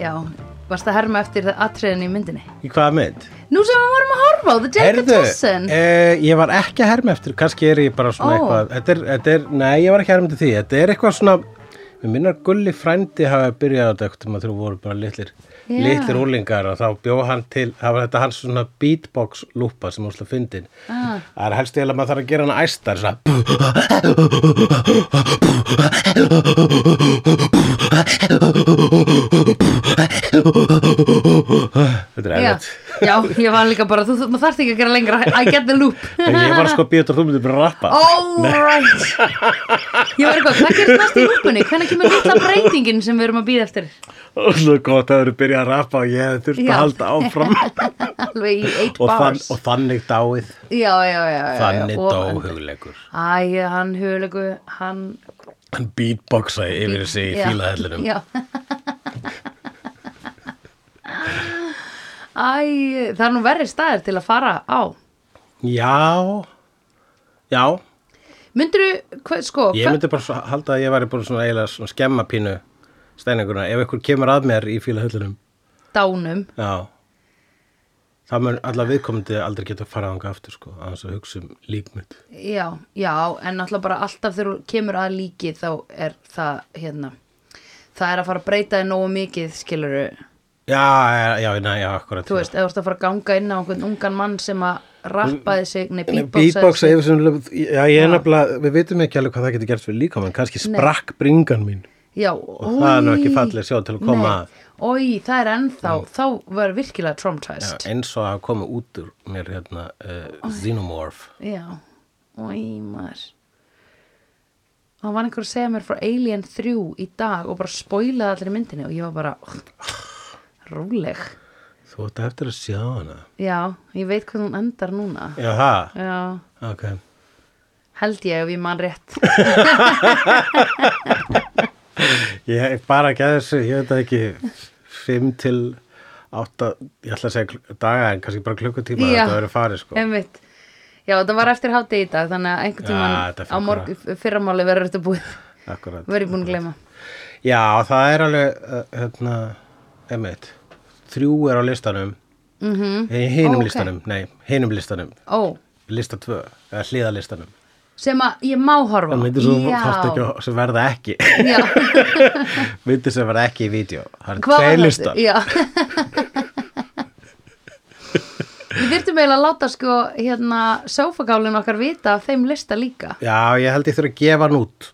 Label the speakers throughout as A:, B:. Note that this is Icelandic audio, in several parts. A: Já, varst að herma eftir það atriðin í myndinni
B: Í hvaða mynd?
A: Nú sem við vorum að horfa á The Delicatessen
B: eh, ég var ekki að herma eftir, kannski er ég bara
A: Ó.
B: svona eitthvað þetta er, þetta er, Nei, ég var ekki að herma eftir því, þetta er eitthvað svona Mér minnar Gulli frændi hafa byrjað á þetta eitthvað þegar þú voru bara litlir
A: Já.
B: litlir úlingar og þá bjó hann til það var þetta hans svona beatbox lúpa sem hún slá fyndin
A: Ah.
B: það er helst eða maður þarf að gera hana æstar svona, þetta
A: Já,
B: er erfitt
A: já, ég var líka bara, þú, þú maður þarft ekki að gera lengra I get the loop
B: En ég var sko að býta og þú myndir bara að rappa
A: Alright Ég var eitthvað, hvað gerist næst í lúpunni? Hvenær kemur litla breytingin sem við erum að býða eftir?
B: Og svo gott að þú eru byrjað að rappa og ég hefði þurft
A: Já.
B: að halda áfram
A: Alveg í 8
B: og, þann,
A: bars
B: og þannig dáið
A: Já, já, já, já
B: Þannig
A: já,
B: dó
A: og-
B: hugleikur
A: Æ, hann hugulegu, hann
B: Hann beatboxaði yfir sig í
A: Já,
B: fílahellinum
A: já. Æ, það er nú verri staðir til að fara á
B: Já, já
A: Myndirðu, hva, sko
B: Ég myndi bara svo- halda að ég væri bara svona eiginlega svona skemmapínu steininguna ef einhver kemur að mér í fílahellinum
A: dánum
B: Já Það mun allar viðkomandi aldrei geta að fara þangað aftur sko, að þess að hugsa um lík mitt.
A: Já, já, en náttúrulega bara alltaf þegar þú kemur að líki þá er það hérna, það er að fara að breyta þig nógu mikið, skiluru
B: Já, já, já, já, já, akkurat.
A: þú veist, eða þú ert að fara að ganga inn á einhvern ungan mann sem að rappaði sig, nei,
B: Mm. Beatboxa
A: beatboxaði sig
B: yfir sem lög, já ég er nefnilega, við vitum ekki alveg hvað það getur gert fyrir líkamann, kannski sprakk bringan mín.
A: Já,
B: Og það er nú ekki falleg sjón til að koma að. Mm.
A: Ói, það er ennþá, þá var virkilega
B: Já,
A: traumatized Já,
B: eins og að koma út úr mér hérna, uh, Xenomorph.
A: já. ói, maður Það var einhver að segja mér frá Alien 3 í dag og bara spoilaði allir myndinni og ég var bara róleg
B: Þú ætti eftir að sjá hana.
A: Já, ég veit hvernig hún endar núna.
B: Já, það,
A: Já,
B: ok.
A: held ég ef ég man rétt.
B: Ég er bara ekki að þessu, ég veit það ekki, 5 til 8, ég ætla að segja kl- daga en kannski bara klukkutíma
A: Já.
B: þetta verður farið sko.
A: Einmitt. Já, þetta var eftir hátti í dag, þannig að einhvern
B: Já,
A: tímann
B: þetta
A: á
B: fekk
A: morg, fyrramáli verður þetta búið.
B: Akkurat.
A: Verður ég búin að gleyma.
B: Já, það er alveg, uh, hérna, einmitt, þrjú er á listanum,
A: Mm
B: eh, hinum
A: Ó, ok.
B: listanum, nei, hinum listanum,
A: Ó,
B: lista 2, eða hliðalistanum.
A: sem að ég má horfa. á.
B: Það myndir svo
A: Já.
B: þátt ekki að- sem verða ekki,
A: Já,
B: myndir sem verða ekki í vídeo. Það er
A: hvað var
B: tveir
A: þetta?
B: listar.
A: Já. Við þyrftum eiginlega að láta sko hérna sófagálinn okkar vita af þeim lista líka.
B: Já, ég held ég þurfa að gefa hann út.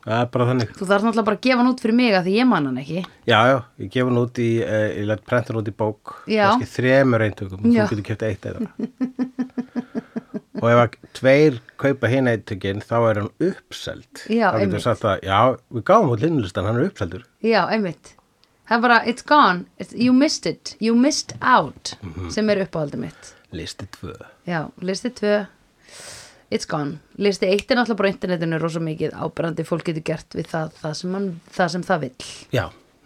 B: Það er bara þannig.
A: Þú þarf náttúrulega bara að gefa hann út fyrir mig að því ég man hann ekki.
B: Já, já, ég gefa hann út í, uh, ég lætt prenta hann út í bók,
A: Já.
B: kannski þremur eintökum,
A: Já.
B: þú getur kæft eitt eða. og ef að tveir kaupa hinn eintökin, þá er hann uppseld.
A: Já,
B: Þá getur
A: einmitt.
B: sagt að, já, við gáum út linnlistan, hann er uppseldur.
A: Já, einmitt. Það er bara, it's gone, it's, you missed it, you missed out,
B: Mhm.
A: sem er uppáhaldið mitt.
B: Listi tvö.
A: Já, listi tvö, it's gone. Listi eitt er náttúrulega bara á internetinu rosa mikið áberandi, fólk getur gert við það, það, sem, man, það, sem það vill.
B: Já,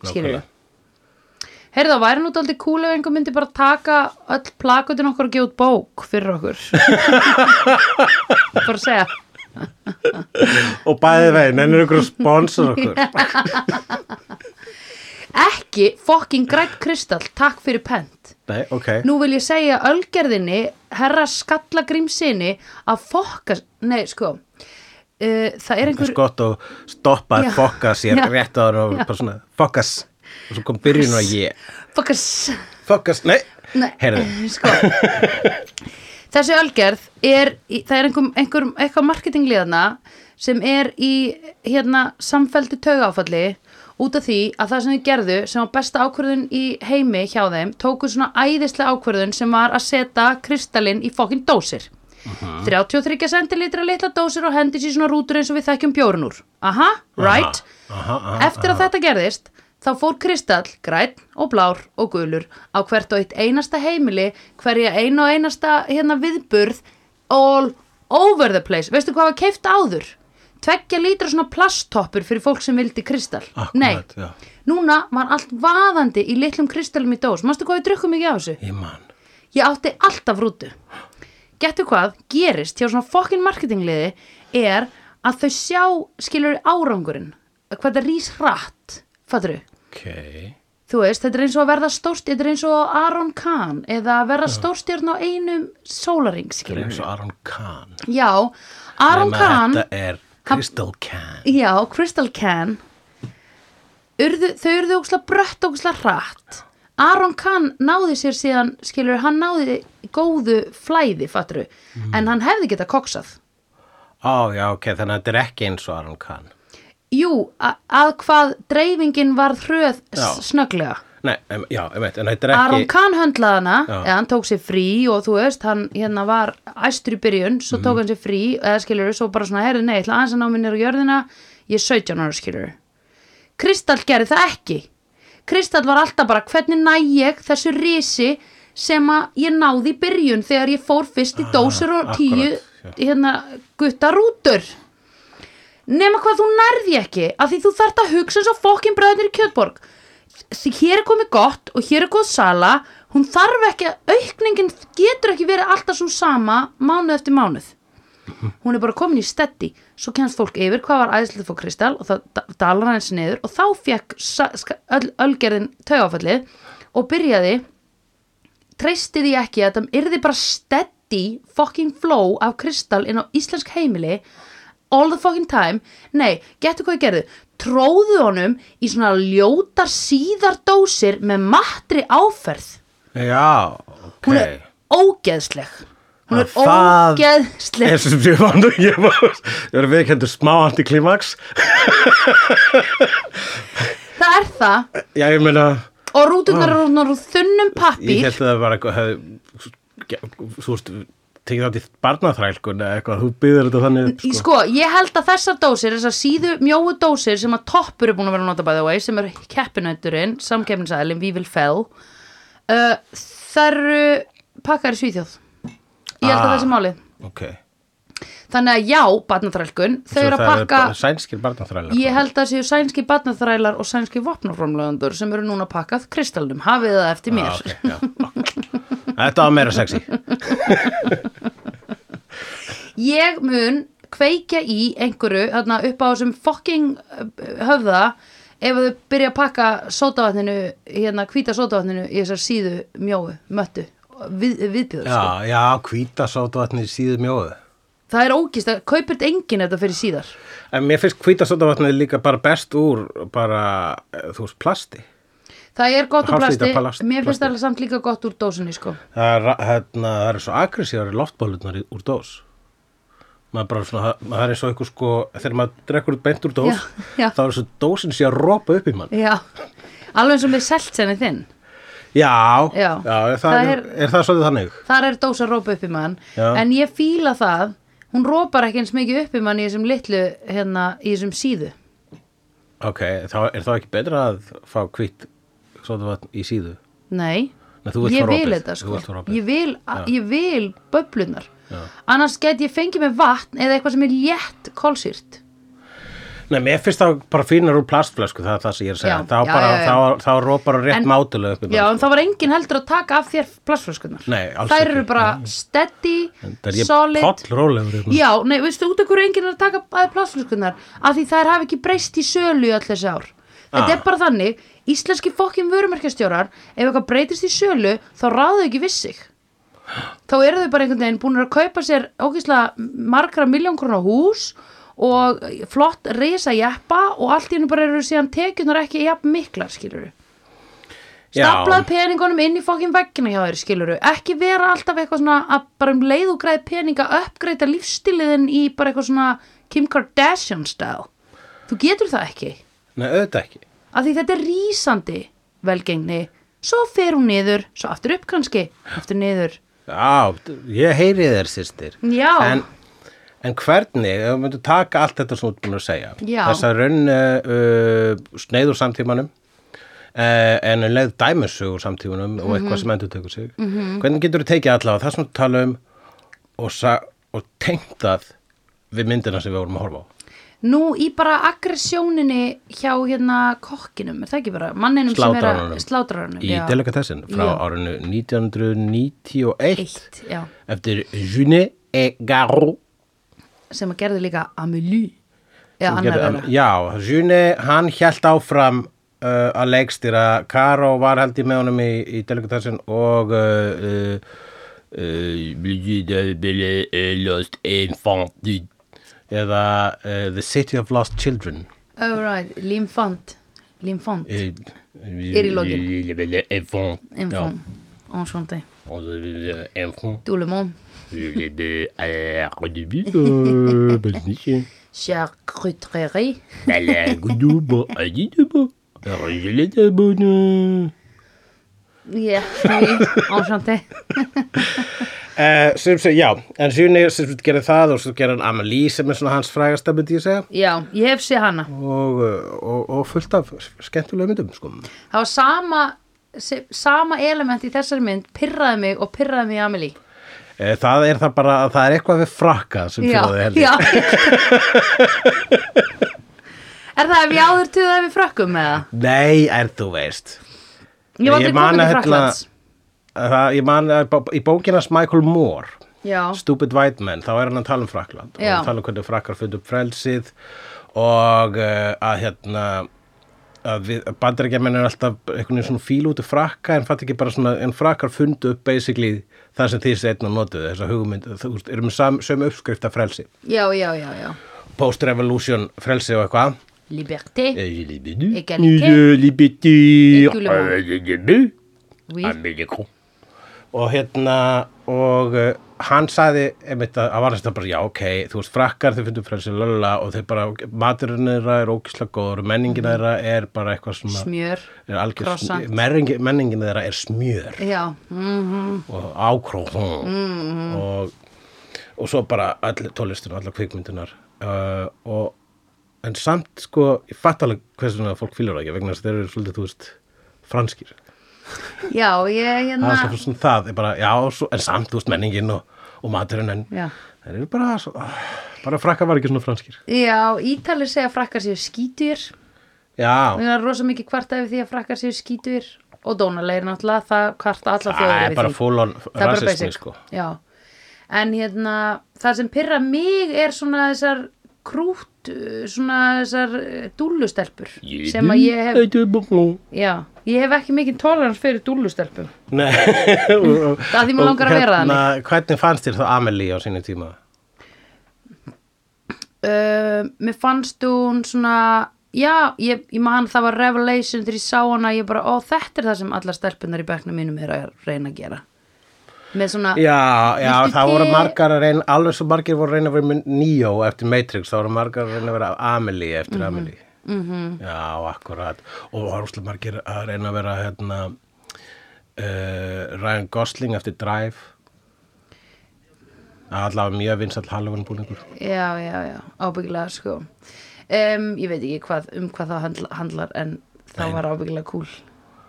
A: Skilurðu? Heyrðu, það væri nú aldrei cool ef einhver myndi bara taka öll plakutin okkar og gefa út bók fyrir okkur. bara að segja.
B: Og bæðið veginn, en er ykkur að sponsor okkur.
A: Ekki fucking grætt kristall, takk fyrir pent.
B: Nei, ok.
A: Nú vil ég segja ölgerðinni, herra skallagrímsinni, að fokka, nei sko, uh, það er
B: Það
A: einhver,
B: er gott að stoppa
A: Já.
B: að fokka sér
A: Já.
B: rétt á hann og bara svona, fokkas. Og svo kom byrjun og ég.
A: fokkas,
B: Fokkas, nei,
A: nei,
B: heyrðu.
A: sko, þessi ölgerð er, í- það er einhver, einhver eitthvað marketingliðana sem er í hérna samfældu taugáfalli út af því að það sem þau gerðu sem var besta ákvörðun í heimi hjá þeim tóku svona æðislega ákvörðun sem var að setja kristallinn í fokkin dósir. 33 centilitra litla dósir og hendi sér svona rútur eins og við þekkjum bjórun úr. Aha, right?
B: Aha, aha,
A: Eftir að þetta gerðist, þá fór kristall, græn og blár og gulur á hvert og eitt einasta heimili, hverja einu og einasta hérna viðburð, all over the place. Veistu hvað var keift áður? Tveggja lítra svona plasttoppur fyrir fólk sem vildi kristall.
B: Akkurat, já.
A: núna var allt vaðandi í litlum kristallum í dós. Manstu hvað við drukkum mikið á þessu?
B: Ég man.
A: Ég átti alltaf rútu. Gettu hvað gerist hjá svona fokkin marketingliði er að þau sjá skilur árangurinn hvað þetta rís hratt fattur
C: ok,
A: þú veist, þetta er eins og að verða stórst þetta er eins og Aron Kahn eða að verða stórstjörn á einum sólaring
B: Það er
A: skilur
B: eins og Aron Kahn.
A: já, Aron
B: Nema
A: Kahn
B: Þetta er Crystal Kahn.
A: já, Crystal Kahn urðu, þau urðu ókslega brött ókslega hratt Aron Kahn náði sér síðan skilur, hann náði góðu flæði fattur
B: Mm.
A: en hann hefði geta koksað
B: Á, já, ok, þannig að þetta er ekki eins og Aron Kahn.
A: Jú, a- að hvað dreifingin var hröð
B: Já.
A: snögglega.
B: Nei, em, já, ég veit, en þetta er
A: Aron
B: ekki...
A: Kahn höndlaði hana,
B: Já.
A: eða hann tók sér frí og þú veist, hann hérna var æstur í byrjun, svo
B: Mhm.
A: tók hann sér frí, eða skilur, svo bara svona, herri, nei, ég ætla aðeins að ná minni á jörðina, ég er 17 ára skilur. Kristall gerði það ekki. Kristall var alltaf bara, hvernig næ ég þessu risi sem að ég náði í byrjun þegar ég fór fyrst í dósir og
B: Ah, akkurat,
A: tíu,
B: já.
A: hérna, guttarútur. Nema hvað þú nærði ekki af því þú þart að hugsa eins og fokkin bræðinir í Kjötborg því hér er komið gott og hér er góð sala hún þarf ekki að aukningin getur ekki verið alltaf svo sama mánuð eftir mánuð hún er bara komin í stetti svo kemst fólk yfir hvað var æðislega fór Kristall og það da- dalar hann eins niður og þá fekk sa- ska- öll, ölgerðin taugafallið og byrjaði treysti því ekki að það yrði bara steady fucking flow af kristall inn á íslensk heimili all the fucking time nei, getur hvað ég gerði tróðu honum í svona ljótar síðar dósir með mattri áferð
B: Já, ok.
A: hún er ógeðsleg hún er
B: Það
A: ógeðsleg
B: er sem ég var nú, ég var, ég var viðkendur smá antiklimax.
A: það er það
B: Já, ég meina,
A: og rútunar eru núna úr þunnum
B: Ah. ég
A: pappir
B: held að það var eitthvað, hefði, þú veist, tekið þátt í barnaþrælkun eða eitthvað, þú byður þetta þannig upp,
A: Í-
B: sko.
A: sko, ég held að þessar dósir, þessar síðu mjóu dósir sem að toppur er búin að vera að nota by the way, sem er keppinauturinn, samkeppnisæðilinn, we will fell uh, þar eru pakkar í Svíþjóð ég held að
B: Ah.
A: það sé málið
B: Ok.
A: þannig að já, barnaþrælkun, þau
B: Svo
A: eru að
B: það
A: pakka
B: bara Sænskir barnaþrælar. sko.
A: ég held að það séu sænski barnaþrælar og sænski vopnaframlöðandur sem eru núna að pakkað kristalnum, hafið það eftir mér
B: Ah, ok, já. Þetta var meira sexy.
A: ég mun kveikja í einhverju þarna, upp á þessum fucking uh, höfða ef þau byrja að pakka sótavatninu, hérna hvíta sótavatninu í þessar síðu mjóu, möttu við, viðbjöður sko.
B: Já, já, hvíta sótavatni síðu mjóðu.
A: það er ógist að kaupir þetta enginn þetta fyrir síðar
B: En mér finnst hvíta sótavatni líka bara best úr bara, eh, þú veist, plasti.
A: það er gott úr
B: Hálflítra
A: plasti,
B: plast-
A: mér finnst
B: plasti.
A: það samt líka gott úr dósinni sko.
B: Það er, ra- hérna, það er svo agressívar í loftbólunar úr dós. Maður bara svona, það- maður er svo eitthvað sko, þegar maður drekkur út beint úr dós,
A: Já, já.
B: þá er svo dósin sé að rópa upp í mann.
A: já, alveg eins og með seltsenni þinn
B: Já,
A: Já.
B: já það,
A: Það
B: er,
A: er-
B: er það svolítið þannig?
A: þar er dósa að rópa upp í mann
B: Já.
A: en ég fíla það, hún rópar ekki eins mikið upp í mann í þessum litlu hérna, í þessum síðu
B: Ok, þá er það ekki betra að fá hvitt sótavatn í síðu?
A: Nei,
B: Nei, þú vilt
A: ég
B: fá
A: vil
B: ropið.
A: þetta
B: Þú
A: sko
B: vilt fá ropið.
A: ég vil, a- ég vil böblunar annars get ég fengið með vatn eða eitthvað sem er létt kolsýrt
B: Nei, mér finnst það bara fínar úr plastflösku, það er það sem ég er að segja.
A: Já,
B: þá
A: já,
B: bara,
A: já, já.
B: Þá, þá rópar hann rétt
A: En-
B: mátulega upp í mann.
A: Já, en það var enginn heldur að taka af þér plastflöskunar
B: Nei, alls
A: Þær
B: ekki.
A: eru bara steady,
B: Það er ég
A: solid
B: pollrólegur hérna. upp í mann.
A: Já, nei, veistu út af hverju enginn er að taka af þér plastflöskunar af því þær hafa ekki breyst í sölu í öll þessi ár Þetta
B: Ah.
A: er bara þannig, íslenski fokkin vörumarkastjórar ef eitthvað breytist í sölu þá ráðu þau ekki við sig þá eru þau bara einhvern veginn búin að kaupa sér ógeðslega margra miljón krona hús og flott reysa jeppa og allt í hennu bara eru síðan tekjunar ekki jafn miklar skiluru
B: Já.
A: staplað peningunum inn í fokkin veggina hjá þér skiluru ekki vera alltaf eitthvað svona að bara um leið og græði peninga uppgreita lífstíliðin í bara eitthvað svona Kim Kardashian style þú getur það ekki
B: Nei, auðvitað ekki.
A: af því þetta er rísandi velgengni svo fer hún niður, svo aftur upp kannski aftur niður
B: Já, ég heyri þér, sýstir.
A: Já.
B: En, en hvernig, ef við myndum taka allt þetta sem þú ert búin að segja,
A: Já.
B: þess að raun uh, sneið úr samtímanum, uh, en um leið dæmisug úr samtímanum og
A: Mhm.
B: eitthvað sem endur tekur sig, -hmm. hvernig getur þú tekið allavega það sem þú tala um og, sa- og tengt það við myndina sem við vorum að horfa á?
A: Nú í bara aggressjóninni hjá hérna kokkinum, er það ekki bara manninum sem er að
B: Slátraranum.
A: slátraranum
B: Í
A: já.
B: Delicatessen frá
A: Já.
B: árinu 1991
A: Eitt, já,
B: eftir June et Garou
A: sem að gerði líka Amélie Já,
B: Sem
A: annar
B: gerði-
A: þeirra.
B: Já, Juni, hann hjælt áfram uh, að leikstýra Karó var held ég með honum í, í Delegatassin og uh, uh, uh, Lost Infant eða uh, The City of Lost Children
A: All Oh, right, Limfant Limfant,
B: Eh,
A: í lokin.
B: Enfant Já.
A: Infant Enchanté,
B: Enfant
A: tout le monde
B: Ég
A: Charcuterie Yeah, oui, enchanté
B: Eh, sem segi, já, en Junior sem segi gerir það og svo gerir hann Amelie sem er svona hans frægasta myndi ég segja
A: Já, ég hef séð hana
B: og, eh, og, og fullt af skemmtulega myndum sko.
A: Það var sama se- sama element í þessari mynd pirraði mig og pirraði mig í Amelie
B: eh, það er það bara að það er eitthvað við frakka sem
A: Já,
B: fyrir það
A: já Er það ef ég áður tuðaði við frökkum með það?
B: nei, er þú veist
A: Ég var aldrei
B: Eh, man
A: komin til
B: að hérna-
A: Fraklands
B: að það, ég man að bá- í bókinas Michael Moore
A: Já,
B: Stupid White Man, þá er hann að tala um Frakland
A: Já.
B: og tala um hvernig Frakkar fundu upp frelsið og uh, að hérna að við, að bandarækjamenn er alltaf einhvern veginn svona fíl út í frakka en fatt ekki bara svona, en frakkar fundu upp basically það sem því setna notuðu þessa hugmynd, þú veist, erum við sam, sömu uppskrift af frelsi,
A: já, já, já, já.
B: post-revolution frelsi og eitthvað
A: Liberté,
B: Eh,
A: Égalité.
B: Egalité
A: oui,
B: Amelikó og hérna og uh, hann sagði einmitt að að var þetta bara já ok, þú veist frakkar þau fundur frelsi lölla og þeir bara maturinn þeirra er ókislega góður, menningin þeirra er bara eitthvað sem að-
A: smjör
B: er algjör,
A: croissant.
B: menningin, menningin þeirra er smjör
A: Já, mhm,
B: og ákróð og, og svo bara all tólestur og allar kvikmyndunar uh, og en samt sko, ég fatt alveg hversu svona fólk fylgur það ekki vegna þess að þeir eru svolítið, þú veist, franskir
A: já, ég,
B: það
A: hérna
B: er svolítið svona það er bara, já, svo, en samt, þú veist, menningin og, og maturinn en
A: Já.
B: þeir eru bara svo, ah, bara frakka var ekki svona franskir
A: Já, Ítalir segja að frakkar séu skítur
B: já,
A: Mér er rosa mikið kvarta yfir því að frakkar séu skítur og dónalegir náttúrulega, það kvarta alla
B: það
A: þjóður
B: er bara full on
A: það er bara
B: rasismi,
A: basic
B: sko
A: já. en hérna það sem pyrra mig er svona þessar krútt uh, svona þessar uh, dúllustelpur sem að ég hef
B: hef
A: já, ég hef ekki mikið tolerans fyrir dúllustelpum
B: Nei Það
A: því mig langar að vera
B: þannig hérna, Hvernig fannst þér þá Amelie á sínu tíma?
A: uh, mér fannst hún svona já, ég, ég man það var revelation þegar ég sá hana, ég bara, ó þetta er það sem allar stelpunar í bekknum mínum er að reyna að gera með svona
B: Já, já,
A: Viltu
B: það voru
A: te?
B: margar að reyna alveg svo margir voru að reyna að vera með Neo eftir Matrix, þá voru margar að reyna að vera Amelie eftir
A: Mhm,
B: Amelie -hmm. Já, akkurat og það voru svo margir að reyna að vera hérna uh, Ryan Gosling eftir Drive allavega mjög vinsall Halloween búningur
A: Já, já, já, ábyggilega sko um, Ég veit ekki hvað, um hvað það handla, handlar en það var ábyggilega cool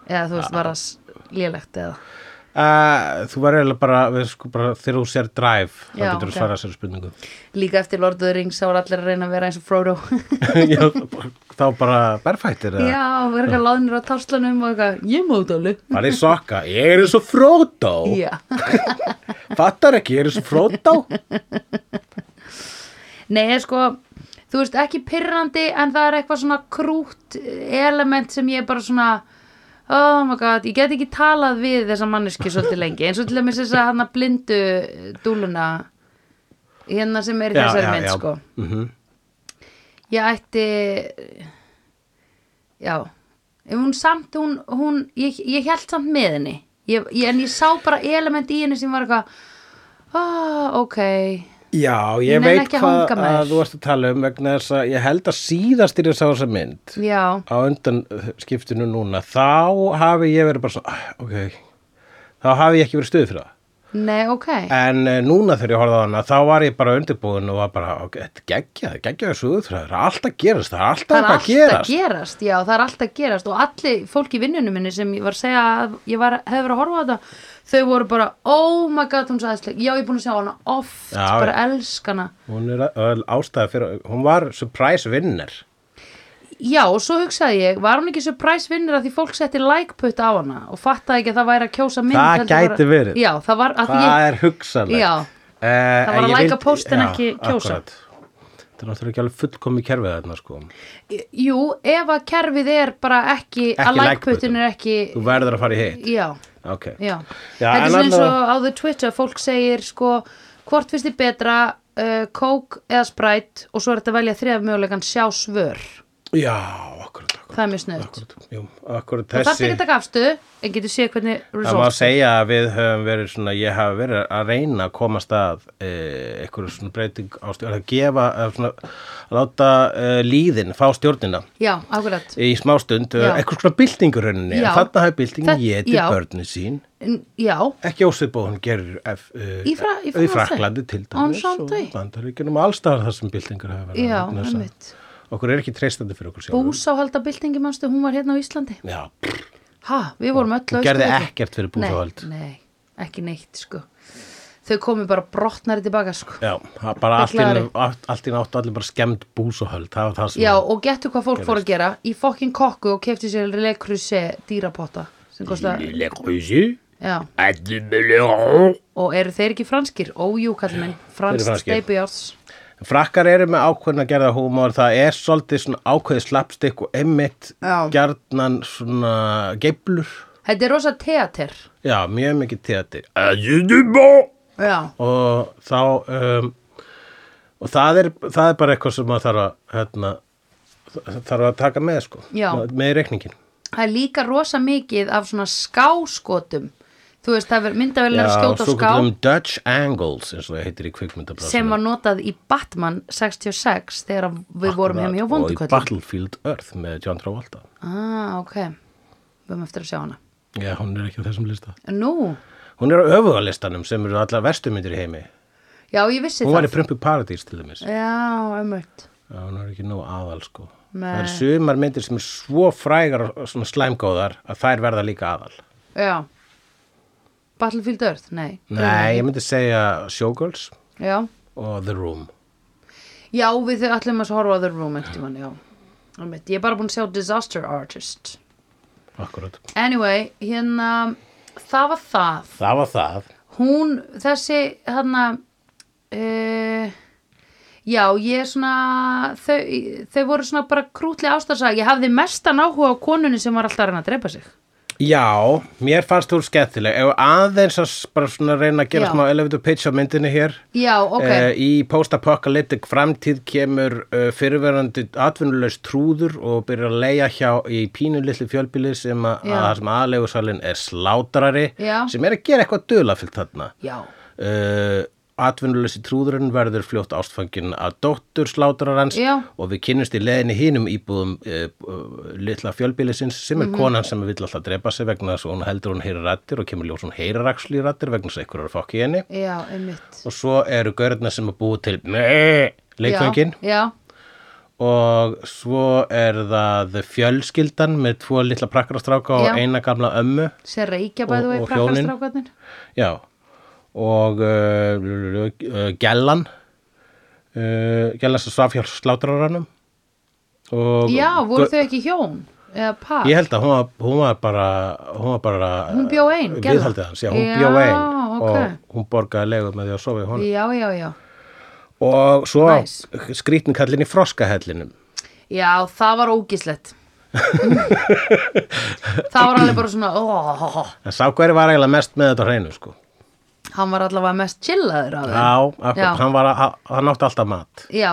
A: eða þú veist, var það s- lélegt eða
B: uh, Þú var eiginlega bara, við sko bara þegar þú sér Drive, þá
A: Já,
B: getur þú
A: ok.
B: svarað sér spurningu
A: Líka eftir Lord of the Rings þá var allir að reyna að vera eins og Frodo
B: Já, þá bara berfættir eða
A: Já, og vera eitthvað láðnir á táslanum og eitthvað, ég má út alveg
B: Bara í sokka, ég er eins og Frodo
A: Já,
B: Fattar ekki, ég er eins og Frodo
A: nei, ég sko þú veist, ekki pirrandi en það er eitthvað svona krútt element sem ég bara svona oh my god, ég get ekki talað við þessa manneski svolítið lengi, eins og til dæmis þess að hann blindu dúluna hérna sem er í
B: Já,
A: þessari
B: já,
A: mynd
B: já.
A: sko
B: Mhm.
A: ég ætti já en hún samt, hún, hún ég, ég held samt með henni ég, ég, en ég sá bara element í henni sem var eitthvað ah, ok
B: Já, ég
A: Ég nenni
B: veit
A: ekki að
B: hvað
A: hanga með
B: að
A: þér.
B: þú varst að tala um vegna þess að ég held að síðast í þess að þessa mynd
A: já,
B: á undan uh, skiptinu núna þá hafi ég verið bara svona, "Ah, ok, þá hafi ég ekki verið stuð fyrir það.
A: nei, ok
B: En uh, núna þegar ég horfði á hana þá var ég bara undirbúin og var bara, ok, þetta geggjað, geggjaði suðu fyrir það, það er allt að gerast, það er alltaf
A: það er
B: eitthvað
A: alltaf
B: að gerast.
A: gerast, já, það er alltaf að gerast og allir fólk í vinnunum minni sem ég var að segja að ég var, hef verið að horfa á þetta þau voru bara, oh my god, hún sagðislega já, ég er búin að sjá hana oft,
B: Já,
A: bara
B: já.
A: elskana
B: Hún er öll ástæða fyrir, hún var surprise vinner.
A: já, og svo hugsaði ég, var hún ekki surprise vinnur að því fólk setti like putt á hana og fattaði ekki að það væri að kjósa mynd
B: Það
A: heldur bara-
B: gæti verið.
A: já, það var að
B: Það
A: ég,
B: er hugsanlegt.
A: Já.
B: Eh,
A: Það var
B: en
A: að
B: ég
A: læka
B: vildi-
A: póst en
B: já,
A: ekki kjósa.
B: akkúrat. Það er náttúrulega ekki alveg fullkomi kerfið þarna sko.
A: Jú, ef að kerfið er bara ekki, að
B: like
A: lækputin er ekki
B: Þú verður að fara í hitt.
A: já,
B: Ok.
A: já,
B: Já,
A: þetta
B: en
A: er svona eins
B: annað-
A: og á the Twitter fólk segir sko, hvort finnst þið betra uh, kók eða sprætt og svo er þetta að velja þriða mögulegan sjá svör
B: Já, akkurat, akkurat.
A: það er mjög snöðt
B: akkurat jú, akkurat
A: það þarf
B: þessi.
A: ekki að taka afstöðu en getur séð hvernig
B: Það má
A: results
B: segja að við höfum verið svona, ég hafa verið að reyna að komast að e, eitthvað svona breyting á stjórn, að gefa, að svona, að láta e, líðin fá stjórnina
A: já, akkurat
B: í eh, smástund, já.
A: Já.
B: eitthvað svona byltingur henni,
A: Já.
B: en þarna hafi byltingin
A: Það-
B: getið
A: já.
B: börnin sín,
A: N- já,
B: ekki ósvipað og hún gerir f, e,
A: Í Fra- í Frakklandi.
B: Fraklandi til
A: On
B: dæmis
A: Sunday.
B: og bandaríkjunum allstaðar þar sem byltingur hafa verið.
A: já,
B: vegna þess að
A: einmitt
B: Okkur er ekki treystandi fyrir okkur sjálfum.
A: búsáhaldabildingi mannstu, hún var hérna á Íslandi
B: Já,
A: ha, við vorum öll á
B: hún gerði
A: Austurvelli.
B: ekkert fyrir búsáhald.
A: nei, nei, ekki neitt sko þau komu bara brotnari tilbaka sko
B: Já, það bara allt í
A: Beklaðari.
B: einu- allt allt í náttu allir bara skemmt búsuhöld, það var það sem
A: já, og getur hvað fólk fór að gera í fokkin kokku og kefti sér lekruse dýrapotta sem kosta,
B: Les Creusus,
A: já,
B: à 2000 euros.
A: og eru þeir ekki franskir ójú, kallum minn, franskt
B: franskir.
A: steipjárs
B: Frakkar eru með ákveðin að gerða húmór, það er svolítið svona ákveðið slappstikk og einmitt
A: Já.
B: gjarnan svona geiflur.
A: þetta er rosa teater
B: Já, mjög mikið teatir. À 2000 euros.
A: já,
B: Og þá, um, og það er, það er bara eitthvað sem maður þarf að, hérna, þarf að taka með, sko.
A: Já.
B: Með í reikningin.
A: það er líka rosa mikið af svona skáskotum þú veist, það er myndavel að
B: Já,
A: skjóta á
B: svo
A: ská
B: kallum Dutch Angles, eins og það heitir í kvikmyndablasinu.
A: sem var notað í Batman 66 þegar við vorum heim hjá
B: Og í
A: vonduköllum
B: Battlefield Earth með John Travolta.
A: Ah, ok. Við höfum eftir að sjá hana.
B: Já, hún er ekki á þessum lista.
A: Nú,
B: Hún er á öfugalistanum sem eru allar verstumyndir í heimi.
A: já, ég vissi
B: Hún var í
A: það.
B: Prumpu Paradís til dæmis.
A: Já, ömmult.
B: Já, hún er ekki nóg aðal sko.
A: Nei.
B: Það er sumar myndir sem er svo frægar og svona slæmgóðar að þær verða líka aðal.
A: Já. Battlefield Earth, nei.
B: Nei, ég myndi segja Showgirls
A: Já,
B: og The Room.
A: já við þau allir maður horfa á The Room eftir mann, já. Ömmult. Ég er bara búin að sjá Disaster Artist.
B: Akkurat.
A: Anyway, hérna, það var það.
B: Það var það.
A: Hún, þessi, hérna, uh, já, ég svona, þau, þau voru svona bara krútli ástarsaga. Ég hafði mestan áhuga á konunni sem var alltaf að reyna að drepa sig.
B: Já, mér fannst þú skemmtileg. Ef aðeins að s- bara svona reyna að gera
A: Já.
B: smá elevator pitch á myndinni hér.
A: Já, ok.
B: Eh, í post-apocalyptic framtíð kemur uh, fyrirverandi atvinnulegs trúður og byrjar að leia hjá í pínu litlu fjölbíli sem að,
A: Já.
B: að það sem aðlegursalinn er slátrari
A: Já.
B: sem er að gera eitthvað dulafyllt þarna.
A: Já,
B: Uh, atvinnuleysi trúðurinn verður fljótt ástfangin af dóttur slátrarans
A: Já.
B: og við kynnumst í leðinni hinum íbúðum uh, uh, litla fjölbýlisins sem
A: Mhm.
B: er konan sem vill alltaf drepa sig vegna þess að hún heldur hún heyri rættir og kemur ljós hún heyri raksli rættir vegna þess að ykkur eru að fokki í henni
A: já, einmitt
B: og svo eru gaurarna sem er búið til meh, leikföngin
A: Já, já,
B: og svo er það fjölskyldan með tvo litla prakkarastráka og
A: Já.
B: eina gamla ömmu
A: sem reykja bæðu
B: Og-
A: vegi
B: og hjónin.
A: prakkastrákarnir
B: já og uh, uh, uh, gellan uh, gellan sem svaf hjá slátraranum og
A: Já, voru þau ekki hjón? Eða par?
B: ég held að hún var, hún var bara hún var bara eh,
A: Hún bjó ein, Gellan?
B: viðhaldið hans, já, hún
A: Já,
B: bjó ein
A: ok.
B: og hún borgaði legu með því að sofa í honum
A: Já, já, já
B: og svo
A: Nice.
B: skrítin kallin í froskahellinum
A: Já, það var ógislegt Það var alveg bara svona oh,
B: En sá hverju var eiginlega mest með þetta á hreinu sko.
A: Hann var allavega mest chillaður af þeim
B: Já, akkur,
A: Já.
B: hann var að, að- hann átti alltaf mat.
A: Já,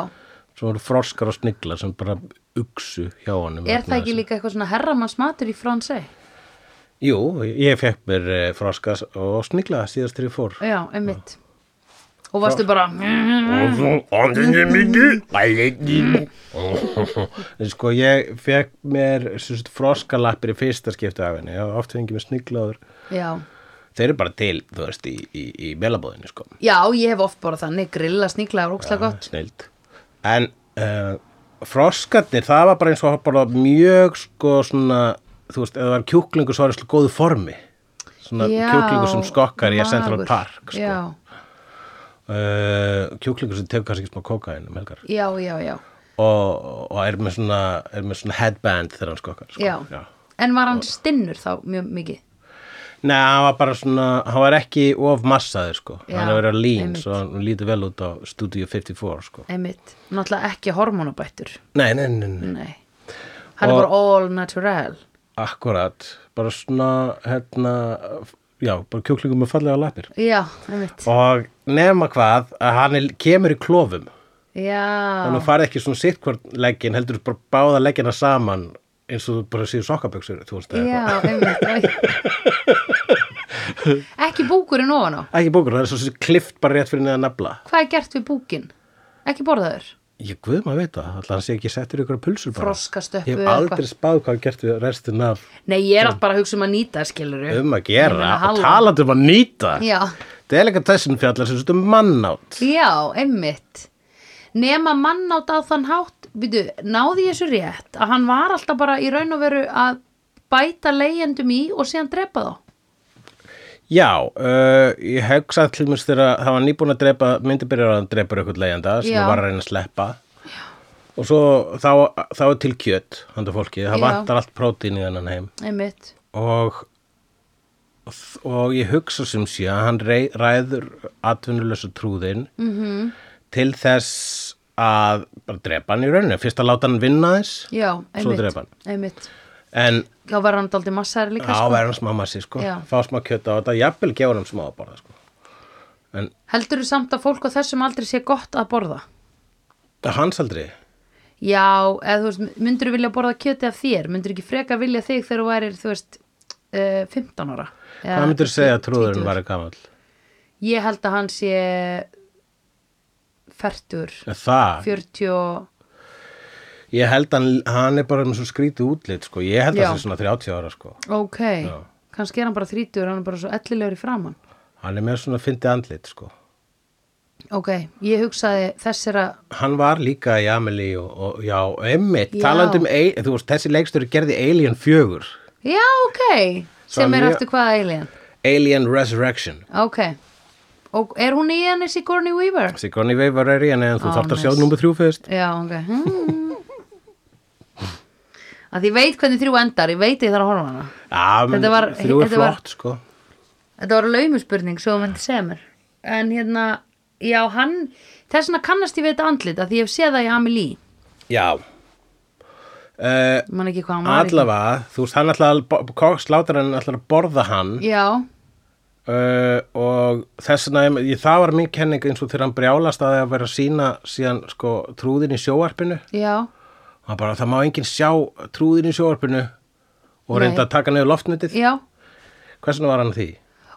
B: Svo voru froskar og sniglar sem bara uksu hjá honum.
A: er
B: hérna, vegna
A: það ekki
B: þess.
A: líka eitthvað svona herramannsmatur í fransei?
B: Jú, ég fekk mér eh, froska og snigla síðast þegar ég fór.
A: Já, einmitt Og varstu bara
B: Og þú, andinni minni, bælinni. Sko, ég fekk mér sem sagt, froskalappir í fyrsta skipti af henni. Ég ofta fengið mér sniglaður.
A: Já,
B: Þeir eru bara til, þú veist, í, í, í melabóðinni, sko.
A: já ég hef oft bara þannig grilla sníklaður ókslega gott
B: snild en uh, froskarnir það var bara eins og bara mjög sko svona þú veist, ef það var kjúklingur svo var það góðu formi svona
A: Já,
B: kjúklingur sem skokkar í að Central
A: magur.
B: Park sko.
A: Já,
B: uh, kjúklingur sem tegur kannski smá kókain um helgar
A: já, já, já
B: og, og er, með svona, er með svona headband þegar hann skokkar sko.
A: Já. En var hann stinnur þá mjög mikið?
B: Nei, hann var bara svona, hann var ekki of massaði sko,
A: Já,
B: hann er verið að lean
A: einmitt.
B: svo hann lítur vel út á Studio 54 sko.
A: einmitt, náttúrulega ekki hormonabættur
B: Nei, nei, nei, nei,
A: nei, hann
B: Og-
A: er bara all natural
B: akkurat, bara svona, hérna, já, bara kjúklingum með fallega lappir.
A: já, einmitt
B: Og nema hvað, að hann er, kemur í klofum,
A: já,
B: þannig að farið ekki svona sitt hvort leggin, heldur bara báða leggina saman eins og þú bara séu sokkaböksur, þú veist
A: já, einmitt Æ. ekki búkurinn ofan á
B: Ekki bókur, það er svo sem klift bara rétt fyrir neða nafla.
A: hvað er gert við búkin? ekki borðaður?
B: Ég guð maður veit það, alltaf hann sé ekki settur ykkur pulsur bara.
A: Froskastöppu
B: Ég hef
A: eða
B: aldrei
A: eitthvað.
B: spáð hvað hann gert við restin af
A: nei, ég er allt bara að hugsa um að nýta skilur
B: Mm. um að gera
A: meina,
B: og
A: halló.
B: talandi um að nýta.
A: já,
B: Delicatessen fjallar sem svolítið um mannátt.
A: já, einmitt nema mann átt á þann hátt býtu, náði ég þessu rétt að hann var alltaf bara í raun og veru að bæta leigjendum í og síðan drepa þá
B: Já, uh, ég hugsa til mér þegar það var nýbúin að drepa, myndi byrjar að drepa eitthvað leigjanda sem
A: Já.
B: Já. var að reyna að sleppa. Og svo þá, þá er til kjöt, handa fólki, það
A: Já.
B: vantar allt prótín í þennan heim.
A: einmitt
B: og og ég hugsa sem sé að hann rei, ræður atvinnulösa trúðin -hmm.
A: Mhm.
B: til þess að bara drepa hann í rauninu, fyrst að láta hann vinna þess
A: já,
B: svo
A: einmitt,
B: drepa hann
A: einmitt.
B: en
A: þá var hann aldrei massari líka
B: á
A: sko.
B: verðans mamma sér sko
A: Já.
B: fá smá kjöt á þetta, jafnvel gefur hann smá að borða sko. en
A: heldur þú samt að fólk á þessum aldrei sé gott að borða
B: að hans aldrei
A: já, eða þú veist, myndur þú vilja borða kjöti af þér myndur ekki freka vilja þig þegar þú værir þú veist, uh, 15 ára Eða
B: hvað myndir segja að trúðurinn
A: 20?
B: væri gamall
A: ég held að hann sé fertur
B: En það,
A: 40 og
B: ég held hann, hann er bara með svo skrítið útlit sko, ég held að
A: Já.
B: það sé svona 30 ára sko
A: ok,
B: Já.
A: kannski er hann bara 30 hann er bara svo ellilegur í framann
B: hann er með svona fyndið andlit sko
A: ok, ég hugsaði þessir að
B: hann var líka í Amelie og, og já, emmitt,
A: Já.
B: talandi um ei- þú veist, þessi leikstöru gerði Alien 4
A: já, ok,
B: Svo
A: sem er
B: mjög-
A: eftir hvaða alien
B: Alien Resurrection
A: ok, og er hún í henni Sigourney Weaver?
B: Sigourney Weaver er í henni en þú
A: Ó,
B: oh, þarft að
A: nice.
B: sjá nummer þrjú fyrst
A: já, ok hmm. að ég veit hvernig þrjú endar ég veit ég þarf að horfa á hana
B: Já, menn,
A: Þetta var-
B: þrjú er
A: þetta var-
B: flott, sko
A: Þetta var laumuspurning svo þú myndi segja mér En hérna, já hann Þess vegna kannast ég við þetta andlit að Því ég hef séð það í Amelie
B: Já uh,
A: Man ekki hvað hann var í-
B: Allavega, þú veist, hann ætlaði slátur hann ætlaði að borða hann
A: Já,
B: uh, og þess vegna, ég- það var mín kenning eins og þegar hann brjálast að að vera að sína síðan, sko, trúðin í sjóarpinu
A: já,
B: hann bara, það má enginn sjá trúðin í sjóarpinu og
A: Nei.
B: reynda að taka niður loftnutið
A: já
B: hvers vegna var hann að því?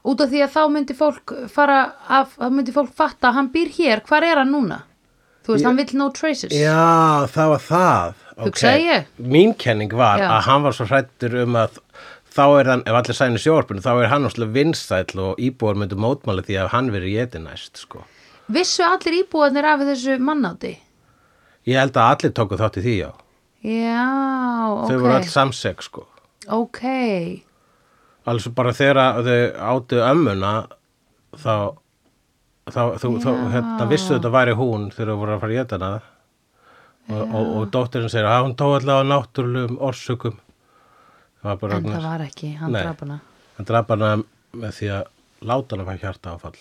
A: Út af því að þá myndi fólk fara af, Þá myndi fólk fatta að hann býr hér Hvar er hann núna? Þú veist, hann vill no traces
B: Já, það var það Ok.
A: Hugsaði ég.
B: Mín kenning var
A: Já.
B: að hann var svo hrættur um að þá er hann, ef allir sæni sjóarpinu þá er hann óslega vinsæll og íbúar myndu mótmáli því að hann verið geti næst sko.
A: Vissu allir íbúðanir af þessu mannáti?
B: ég held að allir tóku þátt í því já
A: Já, ok
B: þau voru alls samseg sko.
A: Ok,
B: alls bara þegar að þau áttu ömmuna þá þá, þú, þá
A: Já.
B: hérna, vissu þetta væri hún þegar þau voru að fara í þetta og, og, og dóttirinn segir að hún tó allavega á náttúrulegum orsökum það var bara
A: en það var ekki, hann
B: Nei.
A: draf hana
B: Hann draf hana með því að láta hana fæ hjarta áfall.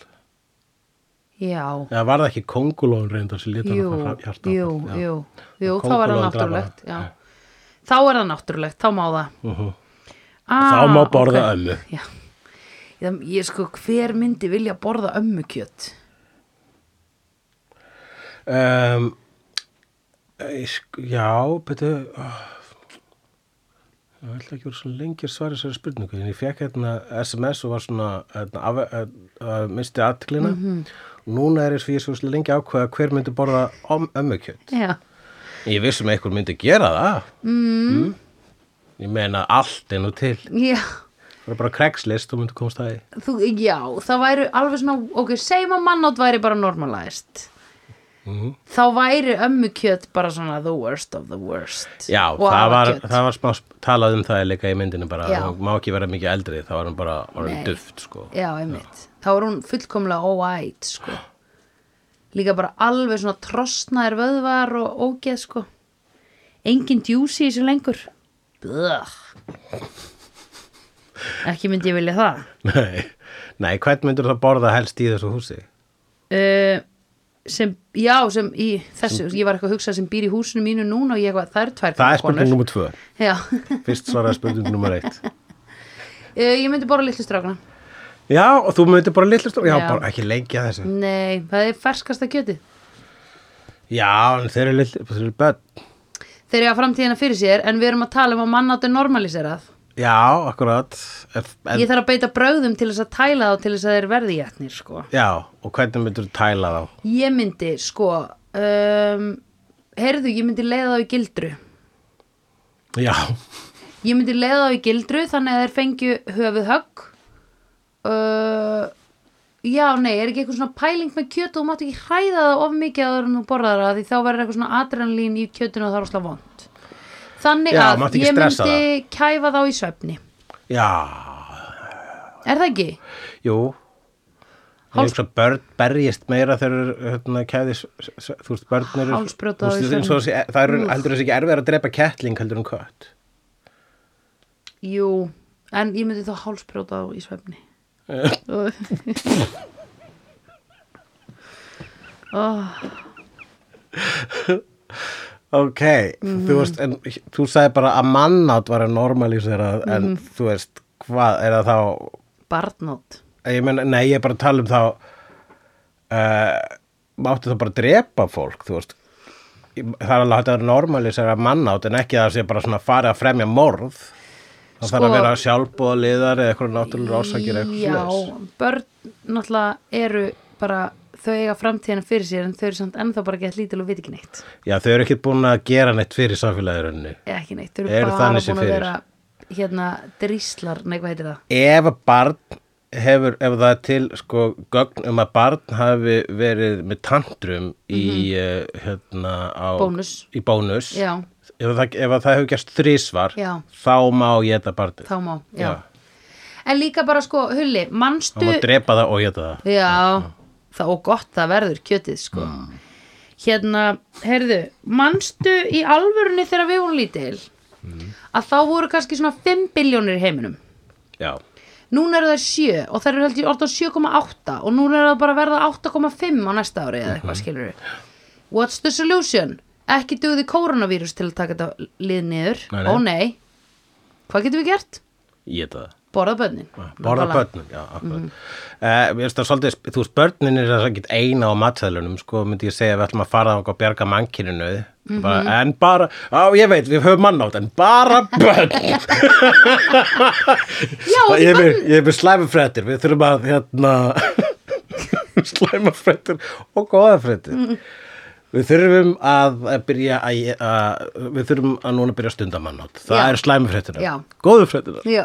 A: Já,
B: Eða var það ekki kongulón reyndar sem leta
A: jú,
B: hana fæ hjarta áfall?
A: jú, jú, jú, þá er það
B: Kóngulóin drap hana.
A: náttúrulegt já. þá er það náttúrulegt, þá má það
B: Uh
A: ah,
B: þá má borða ömmu.
A: já. Ég, ég sko, hver myndi vilja borða ömmukjöt
B: Um, ég eh, sk- já, betur, oh, ég ætla ekki að vera svo lengi að svara þessari spurningu. En ég fekk hérna SMS og var svona, hérna, af, að, að, misti aðtiklina.
A: Mhm.
B: Núna er þess að ég svo lengi að ákveða hver myndi borða om, ömmukjöt.
A: já,
B: Ég vissum að einhver myndi gera það. Mm.
A: Mhm.
B: Ég meina allt er nú til.
A: já,
B: Það er bara krekslist og myndi komast að því.
A: þú, já það væri alveg svona, ok, segjum að mannátt væri bara normalæst
B: Mhm.
A: þá væri ömmukjöt bara svona the worst of the worst
B: Já,
A: Og
B: það var,
A: afakjöt.
B: það var smá sp- talað um það líka í myndinu bara,
A: Já.
B: hún má ekki vera mikið eldri, þá var hann bara
A: Nei.
B: orðin duft, sko.
A: Já, einmitt. Þá er hún fullkomlega óætt, sko. Líka bara alveg svona trosnaðir vöðvar og ógeð, sko. Engin djúsi í þessu lengur. Blöð. ekki myndi ég vilja það
B: Nei, nei hvern myndur það borða helst í þessu húsi?
A: uh, sem, já, sem í þessu, ég var eitthvað að hugsa sem býr í húsinu mínu núna og ég var, það er tvær
B: Það er spurning nummer tvö.
A: Já,
B: Fyrst svaraði spurning nummer eitt.
A: uh, ég myndi bara litlu strákna
B: Já, og þú myndir bara litlu stofn. Já,
A: Já.
B: bara ekki lengja þessu.
A: Nei, það er ferskasta kjötið
B: Já, en þeir eru litlu, þeir eru börn.
A: Þegar ég hafa framtíðina fyrir sér en við erum að tala um að mannátt er normaliserað
B: Já, akkurat. En,
A: Ég þarf að beita brögðum til þess að tæla þá til þess að þeir verði jætnir sko
B: Já, og hvernig myndur þú tæla þá?
A: Ég myndi sko um, Heyrðu, ég myndi leiða þá í gildru
B: Já,
A: Ég myndi leiða þá í gildru þannig að þeir fengju höfuðhögg uh, Já, nei, er ekki eitthvað svona pæling með kjöt og þú mátt ekki hræða það of mikið að þú borðar það því þá verður eitthvað svona adrenalín í kjötinu og það er óslega vond Þannig
B: Já,
A: að
B: mátt ekki
A: ég myndi
B: stressa
A: kæfa þá í svefni
B: já,
A: Er það ekki?
B: jú.
A: Háls-
B: Háls... Ég hugsa að börn berjist meira þegar eru, hérna, kæði, þú veist, börn eru...
A: Hálsbrjóta
B: þú
A: á
B: veist,
A: því
B: eins og
A: sem-
B: þessi- Það eru heldur þessi ekki erfið að drepa kettling heldur en kött.
A: Jú, en ég myndi þá hálsbrjóta þá í svefni oh,
B: Ok,
A: Mhm.
B: þú veist, en þú sagði bara að mannátt var að normalísera, en
A: Mhm.
B: þú veist, hvað, er það þá...
A: Barnótt
B: Ég meina, nei, ég er bara að tala um þá uh, máttu þá bara að drepa fólk, þú veist Ég- það er alveg hægt að normalisera mannátt en ekki að það sé bara svona farið að fremja morð það þarf að
A: Sko-
B: vera sjálfbóðaliðar eða eitthvað náttúrulega rásakir eitthvað
A: Já,
B: svoleiðis.
A: börn náttúrulega eru bara þau eiga framtíðina fyrir sér en þau eru samt ennþá bara gett lítil og veit ekki neitt
B: Já, þau eru ekki búin að gera neitt fyrir samfélagirunni
A: Eða ekki neitt, þau eru,
B: Eru
A: bara
B: þannig sér
A: búin að
B: fyrir.
A: vera hérna dríslar, nei hvað heitir það
B: Ef að barn hefur, ef það er til sko gögn um að barn hafi verið með tantrum í uh, hérna á
A: Mhm. Bónus,
B: í bónus
A: Já.
B: ef að það, ef að það hefur gerst þrísvar
A: Já.
B: þá má ég þetta barnið
A: þá má, já. En líka bara sko, Hulli,
B: þá má
A: manstu
B: drepa það og ég þetta það
A: Já, það og gott það verður kjötið sko. Hérna, heyrðu, manstu í alvörunni þegar við vorum lítil
B: Mm.
A: að þá voru kannski svona 5 biljónir í heiminum.
B: já,
A: Núna eru það 7 og það eru heldur orðan 7,8 og núna eru það bara að verða 8,5 á næsta ári eða eitthvað skilur við. What's the solution? Ekki dugði koronavírus til að taka þetta lið niður.
B: Nei, nei.
A: Ó nei, hvað getum við gert?
B: ég þetta það
A: Borða bönnin.
B: borða börnum, já, akkurat mm -hmm. uh, svolítið, þú veist, börnin er þess að geta eina á matsælunum, sko, myndi ég segja við ætlum að fara þangað og bjarga mannkyninu
A: Mhm.
B: bara, en bara, á, ég veit, við höfum mannátt en bara börn Sko,
A: Já, og
B: ég
A: því
B: er
A: börn
B: með, ég er með slæma fréttir við þurfum að hérna slæma fréttir og góða fréttir
A: Mm.
B: við þurfum að byrja að, að við þurfum að núna byrja stundamannátt það
A: Já.
B: er slæma fréttina,
A: Já.
B: góðu fréttina
A: Já,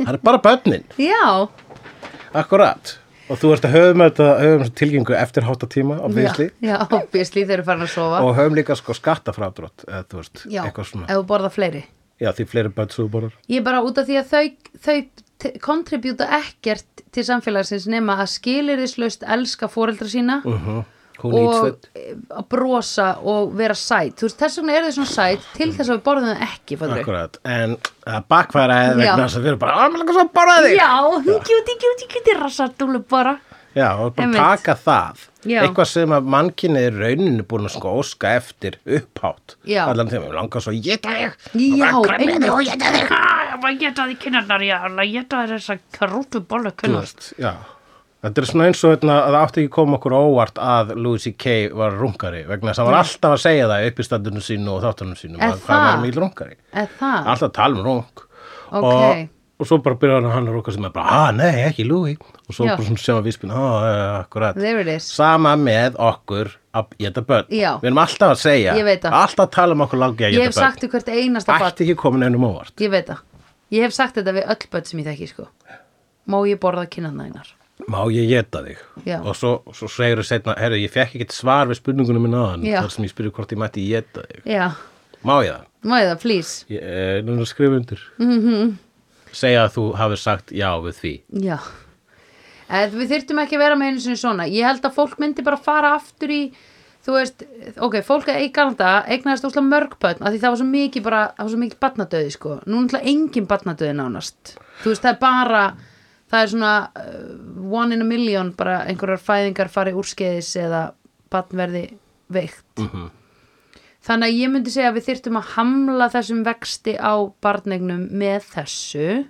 B: það er bara bönnin,
A: já.
B: akkurat og þú ert að höfum þetta höfum þessa tilgjengu eftir hátta tíma á viðsli
A: Já, já obviously þeir eru farin að sofa
B: og höfum líka sko skattafrádrótt eða þú veist,
A: Já,
B: eitthvað svona
A: ef þú borða fleiri
B: já, því fleiri bönn svo borðar
A: Ég er bara út af því að þau, þau kontribjúta ekkert til samfélagsins nema að skilirðislaust elska foreldra sína
B: uh -huh. hún
A: og eh, að brosa og vera sæt Þú veist, þess vegna eru þau svona sæt til þess að við borðum þau ekki fattarðu?
B: Akkurat, en að bakfæra eða
A: Já.
B: vegna þess að við erum bara, að mér langar svo að borða þig
A: Já, kjúti, kjúti, kjúti rassartúlu bara
B: Já, og bara
A: Einmitt.
B: taka það
A: Já.
B: eitthvað sem að mannkynni er rauninu búin að sko óska eftir upphátt
A: Já.
B: allan þegar við langar svo að geta þig
A: Já,
B: og bara gremja
A: einmitt.
B: þig og geta þig
C: Ég var að geta því kynarnar, ég var að geta þess að karútu bollu
B: Þú
C: kynnar.
B: veist, já. Þetta er svona eins og hérna, að það átti ekki koma okkur á óvart að Louis C.K. var rungari vegna þess að hann var alltaf að segja það upp í standunum sínu og þáttunum sínum
A: Er
B: að hvað
A: það?
B: var mjög rungari
A: Eða það
B: alltaf að tala um rung
A: Ok.
B: og, og svo bara byrjaði hann að runga sem er bara, að nei, ekki Louis og svo
A: Já.
B: bara svona sem að víspin, að, akkurat
A: There it is
B: sama með okkur að geta börn
A: Já.
B: við erum alltaf að segja,
A: Ég veit það.
B: alltaf að tala um okkur langi að
A: Ég
B: geta
A: hef sagt þau hvert einasta barn
B: ætti ekki komin einum óvart
A: Ég veit það. Ég hef sagt þetta við öll börn sem ég þekki, sko. Má ég borða kynnaðnægnar?
B: má ég geta þig
A: Já.
B: og svo, svo segir þau setna, herru ég fekk ekkert svar við spurningunum minna aðan
A: Já.
B: þar sem ég spyrir hvort ég mætti geta þig
A: Já,
B: má ég það,
A: má ég það, please?
B: ég eh, er núna að skrifa undir mm
A: Mhm.
B: -hmm. segja að þú hafið sagt já við því
A: Já. Eð, við þyrftum ekki að vera með einu sinni svona. Ég held að fólk myndi bara fara aftur í, þú veist, ok, fólk að eignanda eignaðist óslega mörg börn, af því það var svo mikið bara, það var svo mikið barnadöði, sko. Nú er náttúrulega engin barnadöði nánast. þú veist það er bara það er svona uh, one in a million bara einhverjar fæðingar fari úrskeiðis eða batn verði veikt þannig að ég myndi segja að við þyrftum að hamla þessum vexti á barnegnum með þessu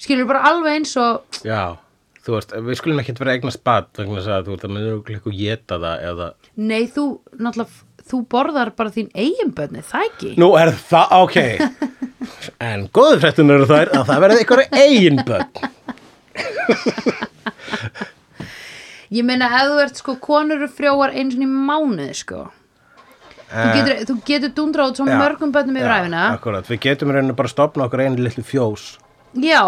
A: skilur bara alveg eins og
B: Já, þú veist, við skulum ekkert vera að eignast bad vegna þess að þú veist að maður eru eitthvað geta það eða...
A: nei þú náttúrulega þú borðar bara þín eigin bönni, það ekki
B: Nú er það, ok. en góðu fréttun eru þær að það verði eitthvað eigin börn.
A: Ég meina ef þú ert sko konur eru frjóar eins og í mánuði sko Þú getur, þú getur dundrað út svo
B: Eh. Já,
A: mörgum bönnum yfir
B: já,
A: æfina
B: Akkurat, við getum í rauninu bara að stopna okkur einu litlu fjós.
A: Já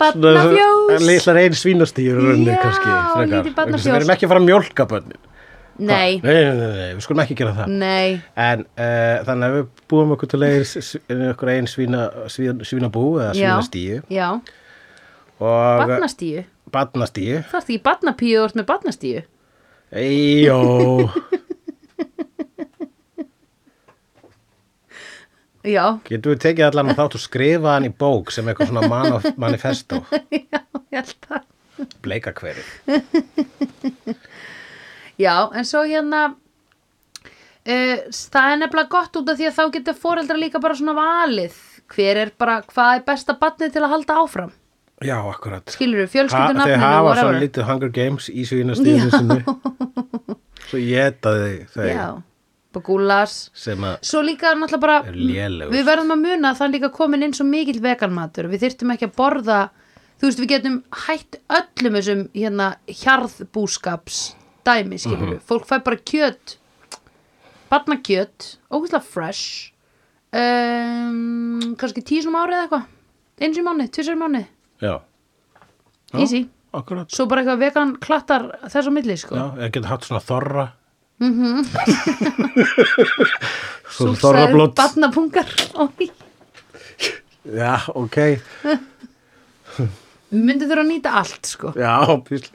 A: Barnafjós
B: Lillar einu svínastýr í rauninu
A: Já,
B: kannski. frekar.
A: lítið
B: Vegna þess að
A: barnafjós.
B: Við erum ekki að fara að mjólka börnin.
A: Nei, Mm.
B: nei, nei, nei, nei, við skulum ekki gera það.
A: nei
B: En uh, þannig að við búum okkur til leir okkur einn svína, svína, svínabú eða
A: Já,
B: svínastíu
A: já
B: og
A: Barnastíu
B: barnastíu.
A: Það ert ekki barnapíu og ert með barnastíu
B: Jó,
A: Já,
B: getum við tekið allan að þátt og skrifa hann í bók sem eitthvað svona man manifesto,
A: já, ég held það
B: bleika hveri.
A: Já, en svo hérna uh, það er nefnilega gott út af því að þá getur foreldrar líka bara svona valið hver er bara, hvað er besta barnið til að halda áfram
B: Já, akkurat.
A: skilur við,
B: Ha- Þeir
A: fjölskyldunafninu
B: hafa
A: og
B: svo
A: whatever.
B: lítið Hunger Games í svínastíðinu sinni. Svo geta þau þau
A: Já, bara gúlas
B: sem að
A: Svo líka náttúrulega bara
B: Er lélegur.
A: Við verðum að muna að það er líka komin inn svo mikill veganmatur Við þyrftum ekki að borða Þú veist, við getum hætt öllum þessum hérna hjarðbúskaps dæmi, skilur
B: Mhm.
A: við Fólk fær bara kjöt Barnakjöt, ókvæslega fresh um, Kannski tísnum árið eða eitthvað Eins í mánuði, tvisar í mánuði
B: Já, Já.
A: Easy
B: akkurat.
A: Svo bara eitthvað vegan klattar þess á milli, sko
B: Já, eða geta hatt svona þorra. Mhm. svona
A: Súlsaður
B: þorrablót.
A: barnapungar Ói
B: Já, ok.
A: Myndi þurfa að nýta allt sko
B: Já, písli.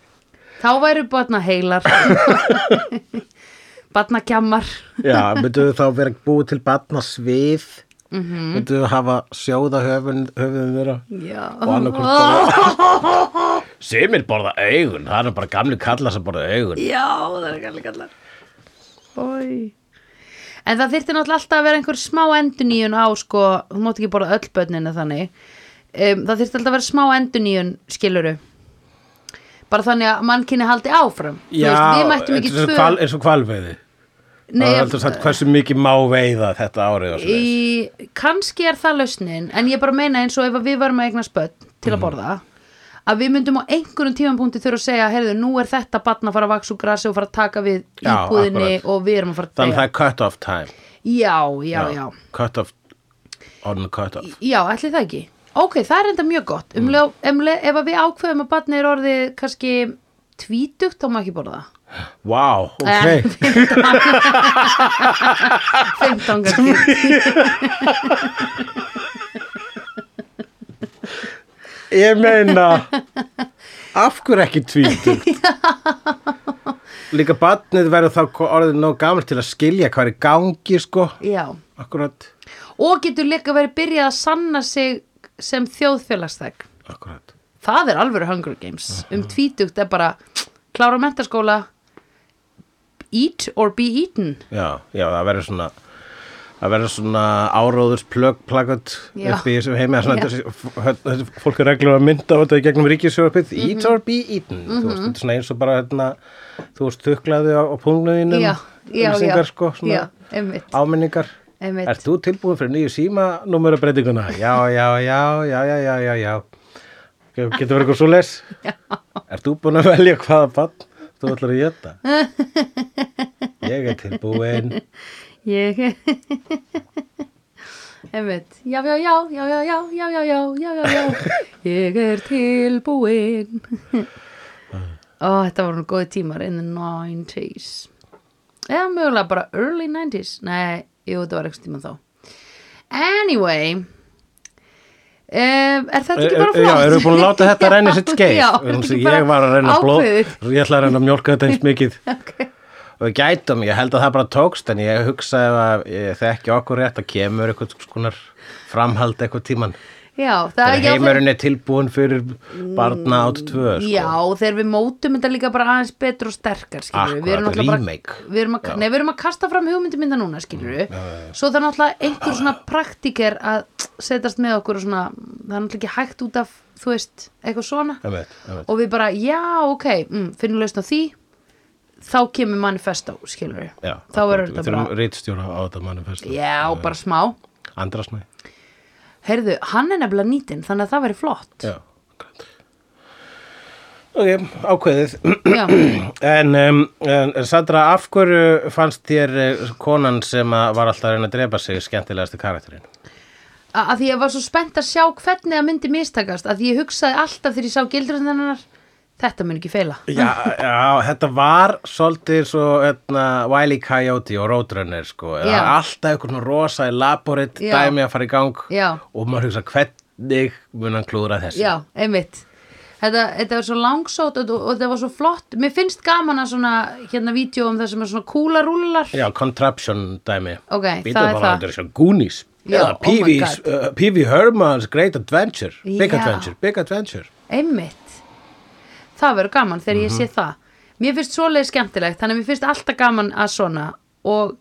A: Þá væru batna heilar Batna kjammar
B: Já, mynduðu þá vera búið til barnasvið mm
A: Mhm.
B: -hmm. mynduðu hafa sjóða höfun, höfuðum þeirra
A: Já
B: og annarkvort bara Simir borða augun, það er bara gamli kallar sem borða augun
A: Já, það er kallar kallar Ói En það þyrfti náttúrulega alltaf að vera einhver smá enduníun á sko, þú mátt ekki borða öll börnina þannig um, Það þyrfti alltaf að vera smá enduníun skiluru Bara þannig að mannkinni haldi áfram Þú veist, Við mættum ekki
B: eins og
A: tvö
B: hval- eins og hvalveiði
A: Nei, eh.
B: Það er alltaf sagt hversu mikið má veiða þetta árið og svo
A: í, kannski er það lausnin en ég bara meina eins og ef að við varum að eigna spött til
B: Mhm.
A: að borða að við myndum á einhverjum tímanpunkti þurfa að segja heyrðu, nú er þetta batn að fara að vaksa úr grasi og fara að taka við
B: Já,
A: íbúðinni
B: akkurat.
A: og við erum að fara að
B: Þannig það
A: deyja
B: er cut off time
A: já, já, já,
B: Cut off, on cut off
A: já, ætli það ekki ok, það er enda mjög gott
B: Mm.
A: um leið, um leið, ef að við ákveðum að batni er orðið kannski tvítugt þá má ekki borða það.
B: Wow, ok
A: Eh, 15 kannski
B: Ég meina Af hverju ekki tvítugt? Líka barnið verður þá ko- orðið nóg gamalt til að skilja hvað er í gangi sko
A: já
B: Akkurat
A: og getur líka verið byrjað að sanna sig sem þjóðfélagsþegn
B: Akkurat
A: það er alvöru Hunger Games
B: Mhm.
A: um tvítugt er bara klára mentaskóla eat or be eaten
B: Já, já það verður svona það verður svona áróðurs plakat
A: Já.
B: upp í þessum heimi að svona
A: Já.
B: þessi f- þessi fólk er reglur að mynda á þetta í gegnum ríkisjófið
A: Mhm.
B: eat or be eaten þú veist, þetta er svona eins og bara hérna, þú veist, þuklaði á, á pungnuðinum
A: já, já, já,
B: um sko, svona,
A: já einmitt,
B: áminningar
A: Einmitt.
B: Ert þú tilbúin fyrir nýju síma númera breytinguna? Já, já, já, já, já, já, já, já Ge- Getur verið eitthvað svo les? Já Ert þú búin að velja hvaða bann þú ætlar að geta? Ég er tilbúin
A: ég einmitt já, já, já, já, já, já, já, já, já, já, já, já ég er tilbúin ó, þetta voru nú góði tímar in the 90s eða mögulega bara early 90s nei, jú, þetta var eitthvað tíma þá anyway Um, er þetta ekki bara flott?
B: Eh, Já, erum við búin að láta þetta renni sitt skeið?
A: Já,
B: Vegna
A: er
B: þess að
A: ekki bara
B: Ég var að reyna að blóð
A: ákveðið?
B: Ég ætla að reyna að mjólka þetta eins mikið
A: Ok.
B: og gætum, ég held að það bara tókst en ég hugsaði að ég, þekki okkur rétt að kemur eitthvað skonar framhald eitthvað tíman
A: Já, það
B: þegar
A: já, þeir-
B: heimurinn er tilbúin fyrir barna átt tvö sko.
A: Mm, Já, þegar við mótum þetta líka bara aðeins betur og sterkar, skilur við.
B: Akkurat,
A: náttúrulega
B: remake. Mm,
A: Bara, við, erum að, nei, við erum að kasta fram hugmyndum mynda núna, skilur við. Svo það er náttúrulega einhver svona praktiker að setjast með okkur og svona, það er náttúrulega ekki hægt út af, þú veist, eitthvað svona.
B: Einmitt, einmitt.
A: Og við bara, já, ok, mm, finnum lausn á því, þá kemur manifestó, skilur við.
B: Já,
A: þá verður
B: akkurat.
A: þetta
B: Við þurfum
A: bara,
B: rítstjóra á þetta manifest
A: já, bara smá.
B: Andrasnæ
A: Heyrðu, hann er nefnilega nýtinn, þannig að það væri flott.
B: Já, akkurat. Ok, ákveðið
A: Já,
B: En, um, en Sandra, af hverju fannst þér eh, konan sem að var alltaf að reyna að drepa sig skemmtilegasti karakterinn?
A: A- að því ég var svo spennt að sjá hvernig það myndi mistakast að því ég hugsaði alltaf þegar ég sá gildröðin hennar þetta mun ekki feila
B: Já, já, þetta var svolítið svo etna, Wile E. Coyote og Roadrunner sko. Það
A: Já.
B: var alltaf einhvern rosa elaborate
A: Já.
B: dæmi að fara í gang
A: Já.
B: og maður hugsa hvernig mun hann klúðra þessu.
A: já, einmitt þetta, þetta var svo langsótt og, og þetta var svo flott mér finnst gaman að svona hérna vídeo um það sem er svona kúlarúlar
B: Já, contraption dæmi.
A: Ok,
B: Býtum
A: það er
B: bara
A: það.
B: Þetta er svo Goonies.
A: Já,
B: Eða
A: oh my
B: P.V.'s,
A: God.
B: uh, P.V. Herman's Great Adventure. Big
A: Já.
B: Adventure, Big Adventure.
A: einmitt það verður gaman þegar ég
B: Mhm.
A: sé það mér finnst svoleið skemmtilegt þannig að mér finnst alltaf gaman að svona og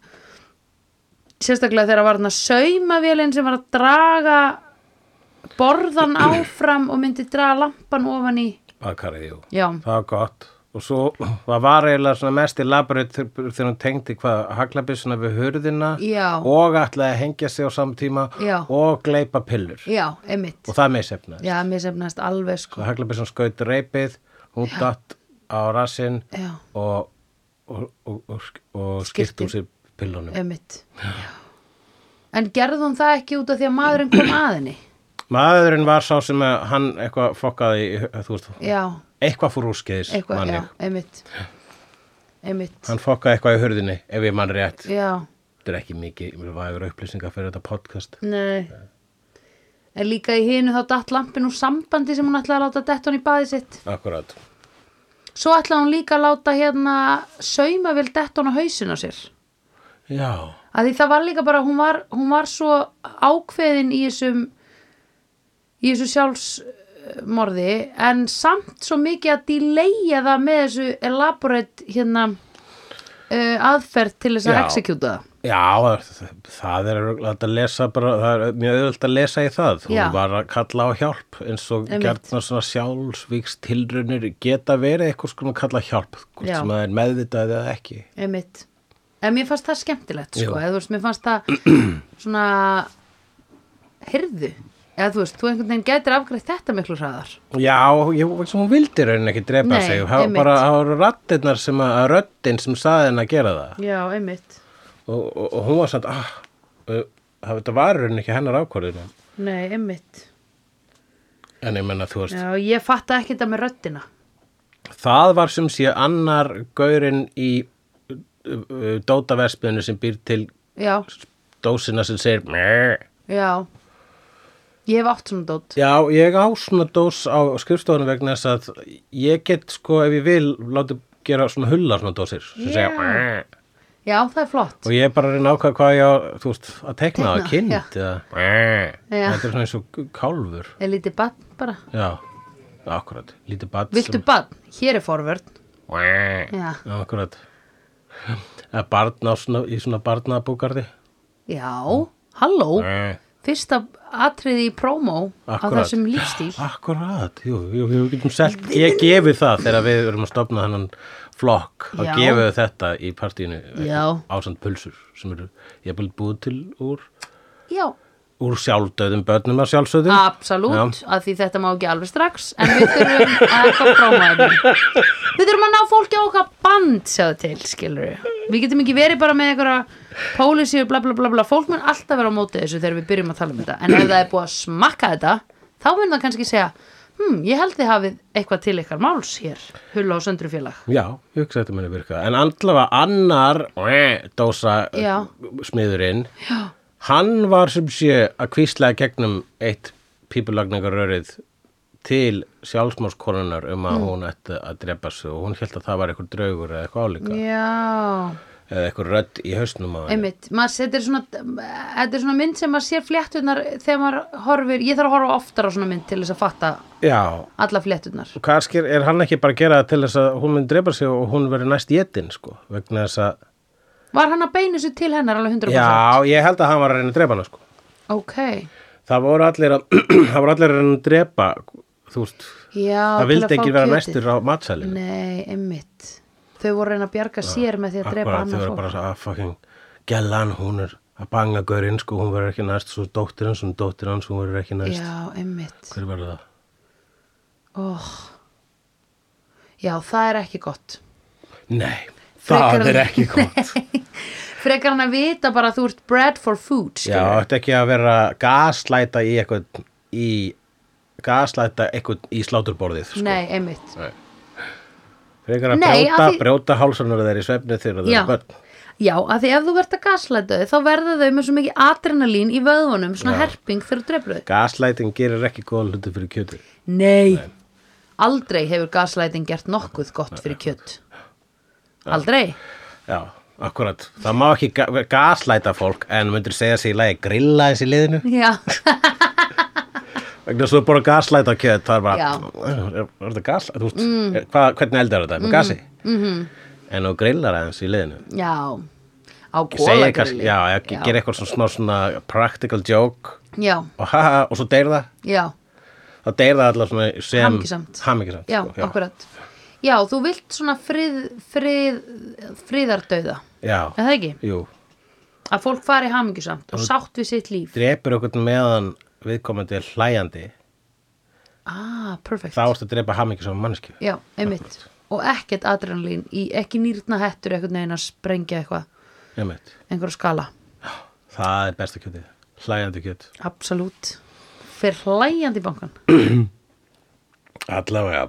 A: sérstaklega þegar var þarna saumavélinn sem var að draga borðan áfram og myndi draga lampan ofan í
B: Bakarið, jú.
A: Já.
B: Það var gott. Og svo það var eiginlega svona mest í labrið þegar hún tengdi hvað haglabissuna við hurðina
A: Já.
B: og ætlaði að hengja sig á samtíma
A: Já.
B: og gleipa pillur.
A: Já, einmitt.
B: Og það meðsefnaði.
A: Já, mér semnast alveg sko.
B: Svo haglabissun skaut reipið, hún datt á rassinn
A: Já.
B: og, og, og, og, og
A: Skyrtu.
B: skipt úr sér pillunum.
A: Einmitt. En gerði hún það ekki út af því að maðurinn kom að henni?
B: Maðurinn var sá sem að hann eitthvað fokkaði, í- þú veist,
A: Já,
B: eitthvað fór úrskeiðis,
A: eitthvað,
B: manni.
A: já, einmitt. Einmitt,
B: Hann fokkaði eitthvað í hurðinni, ef ég mann rétt.
A: já,
B: Þetta er ekki mikið, við vægur upplýsingar fyrir þetta podcast.
A: nei. En líka í hinu þá datt lampin úr sambandi sem hún ætlaði að láta dett hann í baði sitt.
B: Akkurát.
A: Svo ætlaði hún líka að láta hérna saumavél dett hann á hausin á sér.
B: Já.
A: að því það var líka bara hún var, hún var svo ákveðin í þessum í þessu sjálfsmorði en samt svo mikið að delayja það með þessu elaborate hérna uh, aðferð til þess að
B: Já.
A: executa það
B: Já, það- það er örugglega að lesa bara, það er mjög auðvöld að lesa í það. Hún
A: Já.
B: var að kalla á hjálp eins og
A: Einmitt.
B: gertna svona sjálfsvíks tilraunir geta verið eitthvað skoðum að kalla hjálp, hvort
A: Já.
B: sem það er meðvitað eða ekki.
A: einmitt en mér fannst það skemmtilegt sko
B: Jú.
A: eða þú veist, mér fannst það svona hirðu eða þú veist, þú einhvern veginn gætir afgreitt þetta miklu hraðar
B: Já, ég, vegna hún vildi raunin ekki drepa
A: Nei,
B: sig, það var
A: einmitt.
B: bara það voru rattirnar sem að, að röddin sem saði henn að gera það
A: já, einmitt,
B: og, og, og hún var samt, ah, uh, það þetta var raunin ekki hennar ákvörðinu,
A: nei, einmitt
B: en ég menna þú veist,
A: já, ég fatta ekki þetta með röddina
B: það var sem sé annar gaurinn í uh, uh, dótaverspinu sem býr til
A: já,
B: dósina sem segir "Meh."
A: Já Ég hef átt svona dót
B: Já, ég á svona dós á skrifstofunum vegna þess að ég get sko ef ég vil láti gera svona hulla svona dósir
A: Já.
B: sem segja "Meh."
A: Já, það er flott
B: og ég er bara að reyna að ákvæða hvað ég á þú veist, að tekna það,
A: Teikna,
B: kind
A: já.
B: eða "Meh."
A: Já.
B: þetta er svona eins og kálfur
A: Er lítið bann bara
B: Já, akkurat, lítið bat
A: Viltu bann? Hér er forvörn
B: sem...
A: Já,
B: Akkurat að barna á svona, í svona barnabúkarði
A: já, halló
B: Meh.
A: Fyrsta atriði í prómó á
B: Akkúrat.
A: þessum lífstíl
B: Akkurat, jú, jú, jú, við getum selt, ég gefi það þegar við erum að stopna hennan flokk að
A: Já.
B: gefa við þetta í partíinu
A: Já.
B: ásand pulsur sem eru, ég vil búið til úr,
A: Já,
B: úr sjálfdöðum börnum að sjálfsöðum.
A: absolút að Því þetta má ekki alveg strax En við þurfum að eitthvað prómóefni Við þurfum að ná fólki á okkar band Sjáðu til, skilur við Við getum ekki verið bara með einhverja Pólisíu, bla bla bla bla Fólk mun alltaf vera á móti þessu þegar við byrjum að tala um þetta En ef það er búið að smakka þetta Þá mun það kannski segja Hm, ég held þið hafið eitthvað til ykkar máls hér Hulla og söndru félag
B: Já, ég hugsa að þetta muni virka. En andlafa annar eh, dósa
A: Já.
B: smiðurinn, Já. hann var sem sé að kvísla gegnum eitt pípulagnarrörið til sjálfsmórskonunar um
A: Mm.
B: að hún ætti að drepa sig og hún held að það var eitthvað draugur eða eitthvað álíka
A: Já,
B: eða eitthvað rödd í hausnum á henni
A: einmitt maður, þetta, er svona, þetta er svona mynd sem maður sér fléttunar þegar maður horfir, ég þarf að horfa oftar á svona mynd til þess að fatta
B: Já,
A: alla fléttunar
B: og kannski er hann ekki bara að gera það til þess að hún mun drepa sig og hún verður næst jetin sko, vegna þess að
A: Var hann að beina sér til hennar alveg 100%?
B: Já, ég held að hann var að reyna að drepa hana sko
A: Ok,
B: Það voru allir að, það voru allir að reyna að drepa þú veist,
A: já
B: það
A: til að
B: vildi
A: fá
B: ekki vera
A: kjötið.
B: næstur á matsælinu
A: Nei, einmitt Þau voru að reyna að bjarga sér með því að drepa
B: Akkurat, þau
A: annað
B: verður
A: fólk
B: bara svo að fucking gellan, hún er að banga gaurinn sko, hún verður ekki næst, svo dóttir hans, hún dóttir hans, hún verður ekki næst
A: Já, einmitt
B: Hver verður það?
A: oh. Já, það er ekki gott
B: Nei,
A: Frekar
B: það er
A: en-
B: ekki gott
A: Frekar hann að vita bara að þú ert bread for food
B: Já,
A: skilur.
B: þetta ekki að vera gaslæta í eitthvað í gaslæta eitthvað í sláturborðið sko.
A: Nei, einmitt
B: Nei. Frekar að
A: Nei,
B: brjóta,
A: af því-
B: brjóta hálsanar þeir í svefni þegar þeir
A: Já.
B: eru börn
A: Já, að því ef þú verðt að gaslæta þau þá verða þau með svo mikið adrenalín í vöðvunum svona herping þegar þú drefur þau
B: Gaslæting gerir ekki góða hluti fyrir kjötu
A: Nei. Aldrei hefur gaslæting gert nokkuð gott fyrir kjött Aldrei
B: Já, akkurat Það má ekki ga gaslæta fólk en myndir segja sér í lagi grilla þessi liðinu
A: Já,
B: vegna svo bara gaslæta kjöt það er bara,
A: Já.
B: er, er það gas þú veist, mm. hva, hvernig eldar þetta,
A: Mm-hmm.
B: með gasi mm -hmm. en þú grillar aðeins í liðinu
A: já Á
B: segja eitthvað,
A: kólagrilli
B: já, já, gera eitthvað svona, svona, svona practical joke
A: Já,
B: og haha, og svo deyr það
A: já,
B: þá deyr það allar svona sem
A: Hamingjusamt.
B: hamingjusamt,
A: já,
B: sko,
A: akkurat Já, þú vilt svona frið, frið, friðardauða
B: já,
A: Er það ekki?
B: jú,
A: Að fólk fari hamingjusamt og sátt við sitt líf
B: drepur okkur meðan viðkomandi er hlæjandi
A: Ah, perfect
B: þá ertu að drepa hamingjusam mannskju
A: Já, einmitt Og ekkert adrenalín í ekki nýrna hettur einhvern veginn að sprengja eitthvað
B: einmitt,
A: einhverja skala
B: það er besta kjötið hlæjandi kjöt,
A: Absolutt Fer hlæjandi í bankan
B: allavega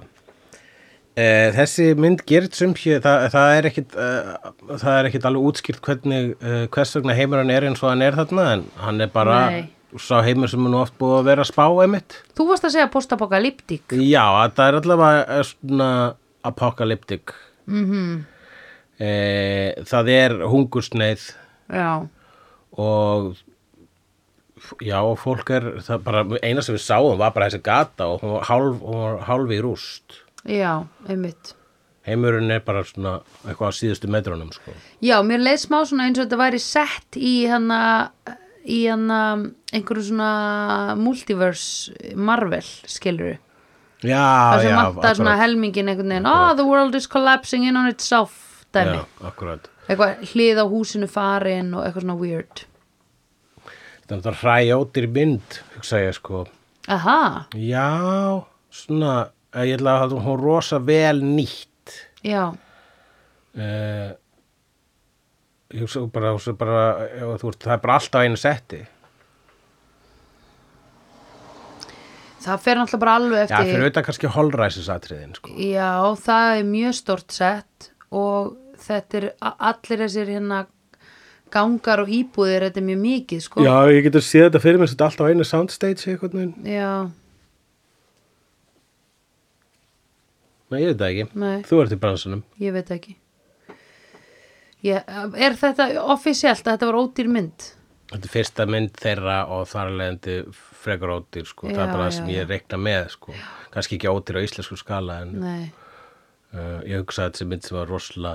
B: Eh, þessi mynd gerist sem hér, það, það er ekkit eh, það er ekkit alveg útskýrt hvernig eh, hvers vegna heimur hann er eins og hann er þarna en hann er bara
A: Nei.
B: sá heimur sem er nú oft búið að vera að spá einmitt
A: Þú varst að segja postapokalyptik
B: Já, að það er allavega eh, svona apokalyptik mm -hmm. Það er hungursneið
A: Já,
B: og f- já, og fólk er það bara, eina sem við sáum var bara þessi gata og hún var hálf, hún var hálf í rúst
A: já, einmitt
B: Heimurinn er bara svona eitthvað á síðustu metrunum sko.
A: Já, mér leið smá svona eins og þetta væri sett í hana í hana einhverju svona multiverse Marvel skiluru
B: Já,
A: Það sem
B: Ah, já,
A: vantar svona helmingin einhvern veginn Oh, the world is collapsing in on itself dæmi
B: Já, akkurat
A: eitthvað hlið á húsinu farin og eitthvað svona weird
B: Þetta er hræjótir mynd, hugsa ég sko
A: aha,
B: Já, svona eh, ég ætla að halda hún rosa vel nýtt
A: já,
B: Eh, ég hugsa bara, hugsa bara ef þú veist, það er bara alltaf einu setti
A: það fer náttúrulega bara alveg
B: já, fyrir
A: eftir
B: auðvitað kannski holræsisatriðin sko.
A: já, það er mjög stort sett og þetta er a- allir þessir hérna gangar og íbúðir, þetta er mjög mikið sko
B: ég getur séð þetta fyrir mér þetta alltaf einu soundstage eitthvað nei,
A: Já,
B: ég veit það ekki,
A: Nei.
B: þú ert í bransunum
A: ég veit ekki ég, er þetta offisíalt að þetta var ódýr mynd
B: þetta er fyrsta mynd þeirra og þar leðandi frekar ódýr sko. það
A: Já,
B: er bara það
A: já,
B: sem
A: já.
B: ég reikna með sko. kannski ekki ódýr á íslensku skala en
A: nei,
B: uh, ég hugsa að þetta er mynd sem var rosla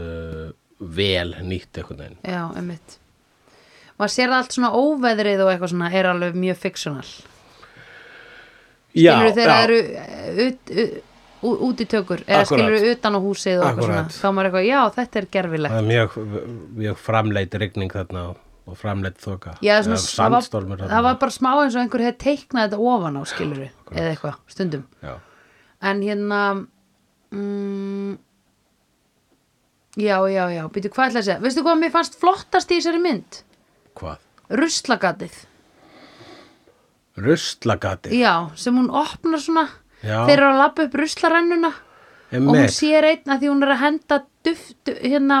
B: uh, vel nýtt eitthvað neginn
A: já, emmitt maður sér það allt svona óveðrið og eitthvað svona er alveg mjög fictional skilur þeirra eru eh, ut, u- ú- út í tökur eða
B: Akkúrat.
A: skilur utan á húsið og eitthvað svona
B: Akkúrat.
A: þá er maður eitthvað, já þetta er gerfilegt
B: Það er mjög, mjög framleitt rigning þarna og, og framleitt þoka.
A: já, svona,
B: Eða
A: það,
B: sandstormur
A: var, það var bara smá eins og einhver hefði teiknað þetta ofan á skilur eða eitthvað, stundum
B: Já.
A: en hérna mm, já, já, já, býtu hvað ætla að segja veistu hvað mér fannst flottast í þessari mynd
B: Hvað?
A: ruslagatið
B: Ruslagati.
A: já, sem hún opnar svona
B: Já.
A: þeir eru að labba upp ruslarennuna og hún
B: Einmitt.
A: sér einn að því hún er að henda duft, hérna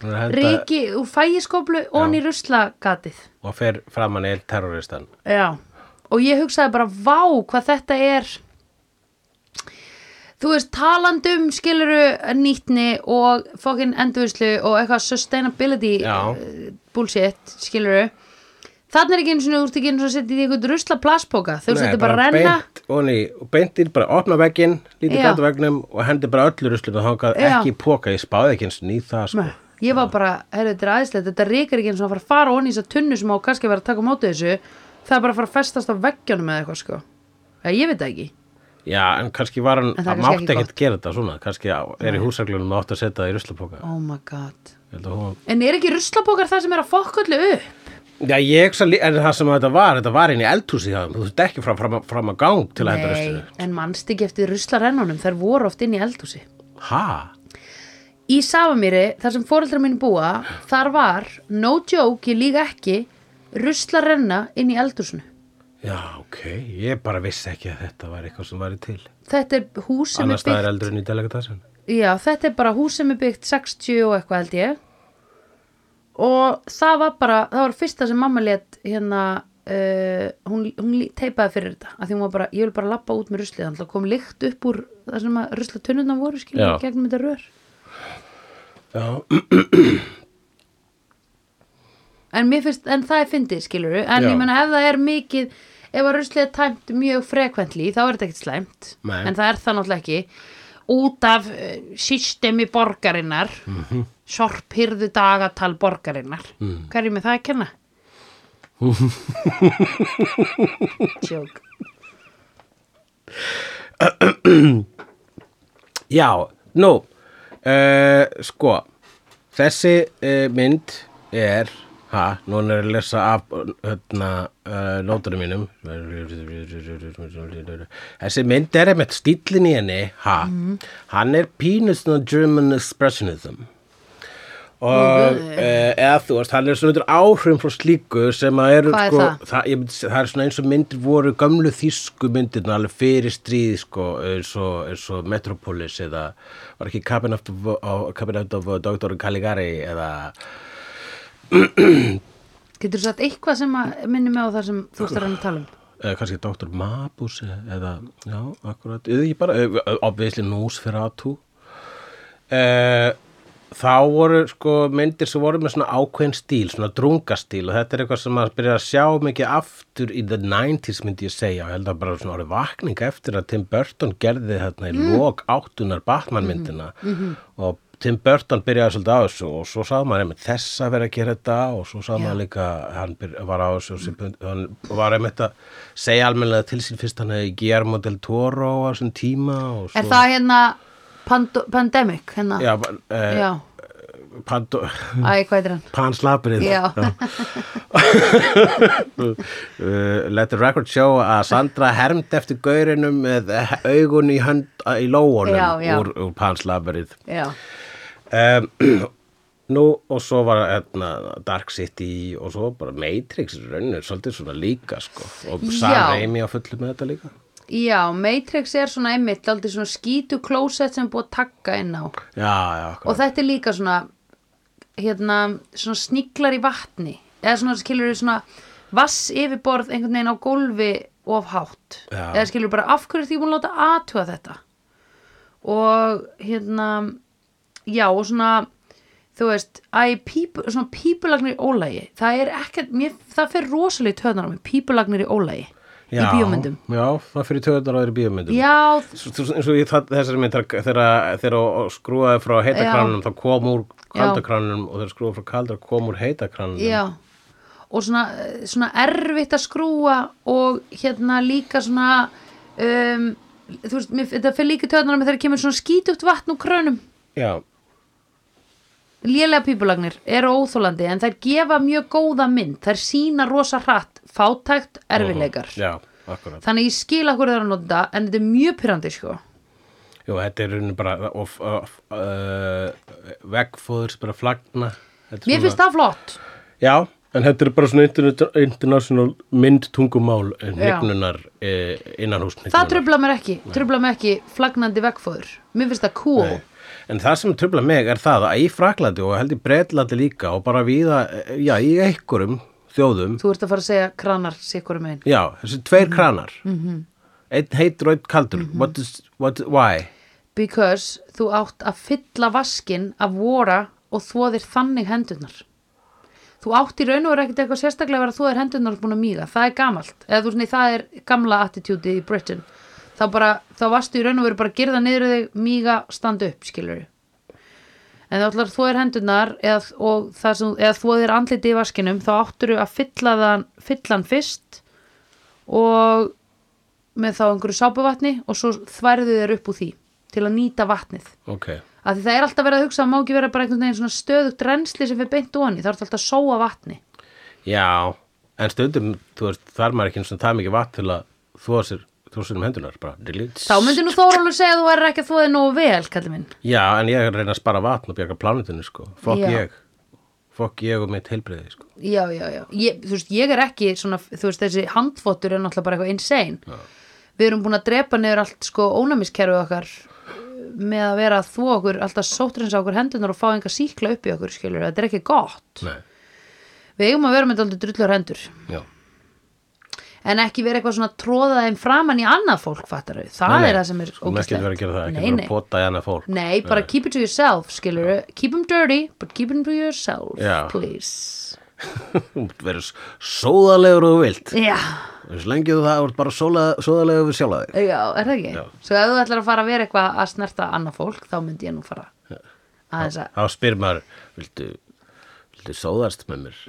B: Hún er að henda-
A: Ríki úr fægiskóplu og hann í ruslagatið
B: Og fer framan í terroristan.
A: Já Og og ég hugsaði bara vá hvað þetta er þú veist talandum skiluru nýtni og fokkin endurvislu og eitthvað sustainability
B: Já.
A: eh, bullshit skiluru þannig er ekki eins og þú ert ekki eins og að setja í einhvern rusla plastbóka þú veist
B: Nei,
A: þetta er bara að renna
B: beint, og, ný, og beintir bara opna veggin lítið
A: Já.
B: gæta vegnum og hendi bara öllu ruslum og þangað
A: Já.
B: ekki í póka, ég spáði ekki eins og ný það sko.
A: Ég var bara, heyrðu, þetta er aðeinslegt, þetta reykar ekki eins og að fara að fara onni í þess að tunnu sem á kannski að vera að taka á móti þessu, það er bara að fara að festast á veggjónum eða eitthvað, sko. Já, ég veit það ekki.
B: já, en kannski var hann
A: En það er
B: að
A: kannski
B: mátti
A: ekki
B: ekkert gera þetta svona kannski á- er í húsaglunum og átti að setja það í ruslapóka
A: Oh my god.
B: Ég held að hún-
A: En er ekki ruslapokar það sem er að fokka öllu upp?
B: já, ég hugsa lí- en það sem þetta var, þetta var inn í eldhúsi hjá þeim, þú þurft ekki fram, fram, fram að gang til að henda ruslinu
A: en mannst ekki eftir ruslarennunum, þær voru oft inn í eldhúsi.
B: ha,
A: Í Safamýri, þar sem foreldrar mín búa, þar var, no joke, ég líka ekki, ruslarenna inn í eldhúsinu.
B: já, ok ég bara vissi ekki að þetta var eitthvað sem væri til
A: Þetta er hús sem
B: annars
A: er byggt
B: staðar eldur en í delegatassin
A: Já, þetta er bara hús sem er byggt 60 og eitthvað held ég og það var bara, það var fyrsta sem mamma let hérna uh, hún, hún lí- teipaði fyrir þetta af því hún var bara, ég vil bara lappa út með ruslið þannig að kom lykt upp úr það sem að rusla tunnuna voru skilja
B: Já.
A: gegnum þetta rör
B: já,
A: en, mér finnst, en það er fyndið skiljuru en
B: Já.
A: ég meina ef það er mikið ef að ruslið er tæmt mjög frekventli þá er þetta ekkert slæmt
B: Nei.
A: en það er það náttúrulega ekki út af uh, systemi borgarinnar mm
B: Mhm.
A: -hmm. sorphyrðu dagatal borgarinnar mm. hvað er ég með það að kenna? Jók
B: Já, nú uh, sko þessi uh, mynd er ha, núna er ég að lesa af hérna, uh, nótunum mínum þessi mynd er einmitt stíllinn í henni ha, hann er pínus German expressionism og uh, eða þú veist, hann er svona undir áhrifum frá slíku sem að eru
A: Hvað er
B: sko,
A: það?
B: Það, ég, myndi segja- það er svona eins og myndir voru gamlu þýsku myndirna alveg fyrir stríð sko, eins og, eins og Metropolis eða var ekki Cabin of, Cabinet of Dr. Caligari eða
A: Getur þú sagt eitthvað sem að minni mig á það sem þú ert að reyna að tala um?
B: eða eh, kannski Dr. Mabuse eða, já, akkurat eða ég bara, eh, obviously Nosferatu uh, þá voru sko myndir sem voru með svona ákveðin stíl, svona drungastíl og þetta er eitthvað sem maður byrjar að sjá mikið aftur í the 90s myndi ég segja og ég held að bara svona orðið vakning eftir að Tim Burton gerði þetta í
A: Mm.
B: lok áttunar
A: Mhm,
B: Batman myndina og Tim Burton byrjaði svolítið á þessu og svo sá maður einmitt þess að vera að gera þetta og svo sá maður líka, hann byr, var á þessu og sér, hann var einmitt að segja almennilega til sín fyrst hann hefði Guillermo del Toro á þessum tíma og svo
A: Er það hérna pando- pandemic? Hérna?
B: Já, uh,
A: Já.
B: Pando,
A: Æ, hvað er hann?
B: panslabrið
A: Já.
B: uh, Let the record show að Sandra hermd eftir gaurinum með augun í, hönd, í lóunum
A: Já, já.
B: úr, úr panslabrið
A: Já.
B: um, Nú og svo var etna, Dark City og svo bara Matrix í rauninu, svolítið svona líka sko. og
A: Já.
B: Sam Raimi á fullu með þetta líka
A: Já, Matrix er svona einmitt aldrei svona skítu klósett sem er búið að taka inn á
B: Já, já,
A: og
B: akkurat.
A: þetta er líka svona hérna, svona sníklar í vatni eða svona skilur við svona vass yfirborð einhvern veginn á gólfi of hátt
B: Já.
A: eða skilur við bara af hverju er því búin að láta aðtuga þetta og hérna já og svona þú veist, æ, pípu, svona pípulagnir í ólægi, það er ekkert mér, það fer rosalega í töðnar á mig, pípulagnir í ólægi í
B: Já,
A: bíómyndum
B: Já, það fyrir töðunar á þeirri bíómyndum
A: já,
B: Svo- svo- eins og ég það- þessari myndar þegar þegar skrúaði frá heitakranunum þá kom úr kaldakranunum og þegar skrúaði frá kaldar kom úr heitakranunum
A: Já, og svona, eh, svona erfitt að skrúa og hérna líka svona, um, þú veist, mér, þetta fyrir líka töðnara með þegar kemur svona skítugt vatn úr krönum.
B: já,
A: Lélega pípulagnir eru óþólandi en þær gefa mjög góða mynd, þær sína rosa hratt, fátækt, erfilegar.
B: já, akkurat
A: Þannig ég skil akkur þeirra nota þetta, en þetta er mjög pyrrandi sko.
B: Jú, þetta er raunin bara of, of, uh, vegfóður sem bara flagna Þetta er
A: Mér
B: svona-
A: finnst það flott.
B: Já, en þetta er bara svona internet- international myndtungumál
A: Já.
B: hnignunar eh, innanhús
A: Það
B: hnignunar.
A: trubla mér ekki, trubla mér ekki flagnandi vegfóður. Mér finnst það cool.
B: Nei. En það sem tröfla mig er það að eh, í Fraklandi og held í Bretlandi líka og bara viða, já, í einhverjum þjóðum
A: Þú ert að fara að segja kranar sikkur um einn.
B: já, þessi tveir kranar einn heitur og einn kaldur what is, what, why
A: Because þú átt að fylla vaskin af vora og þvoðir þannig hendurnar. Þú átt í raun og er ekkert eitthvað sérstaklega að vera þvoðir hendurnar búin að míga. Það er gamalt. Eða þú veist, nei, það er gamla attitúti í Britain. Þá bara, þá varstu í raun og veru bara að gerða niður þig míga standa upp, skilur En þá ætlar þvoðir hendurnar eða, og það sem, eða þvoðir andliti í vaskinum, þá átturu að fylla þann, fylla hann fyrst og með þá einhverju sápuvatni og svo þværðu þeir upp úr því til að nýta vatnið
B: ok,
A: af því það er alltaf verið að hugsa að má ekki vera bara einhvern veginn svona stöðugt rensli sem fyrir beint onni það er alltaf að sóa vatni
B: já en stundum, þú veist, þarf maður ekki einu sinni það mikið vatn til að þvó sér þvó sér um hendunar, bara really?
A: þá myndi nú Þórólur segja að þú væri ekki að þóði nógu vel kallir minn
B: já, en ég er að reyna að spara vatn og bjarga plánutinu, sko, fokk
A: Já.
B: ég fokk ég og mitt heilbrigði, sko
A: já, já, já, ég, þú veist, ég er ekki svona, þú veist, þessi handfóttur er náttúrulega bara eitthvað insane við erum búin að drepa niður allt sko ónæmiskerfið okkar uh, með að vera að þú okkur alltaf sótrinsa okkur hendunar og fá enga síkla upp í okkur skilur, þetta er ekki gott
B: nei,
A: við eigum að vera með alltaf drullur hendur
B: já,
A: en ekki vera eitthvað svona tróða þeim framann í annað fólk fattar þau, það
B: Nei, nei,
A: er það sem er
B: sko, ekki vera að gera það, ekki
A: nei,
B: vera
A: nei.
B: að pota í annað fólk
A: nei, bara keep it to yourself, skilur keep them dirty, but keep them to yourself
B: Já.
A: please
B: þú mútt verið sóðalegur og þú vilt
A: já,
B: þess lengi þú það þú ert bara sóla- sóðalegur við sjálfa þig
A: já, er það ekki
B: Já.
A: svo ef þú ætlar að fara að vera eitthvað að snerta annað fólk, þá myndi ég nú fara aðeins að,
B: þá spyr maður, viltu viltu sóðast með mér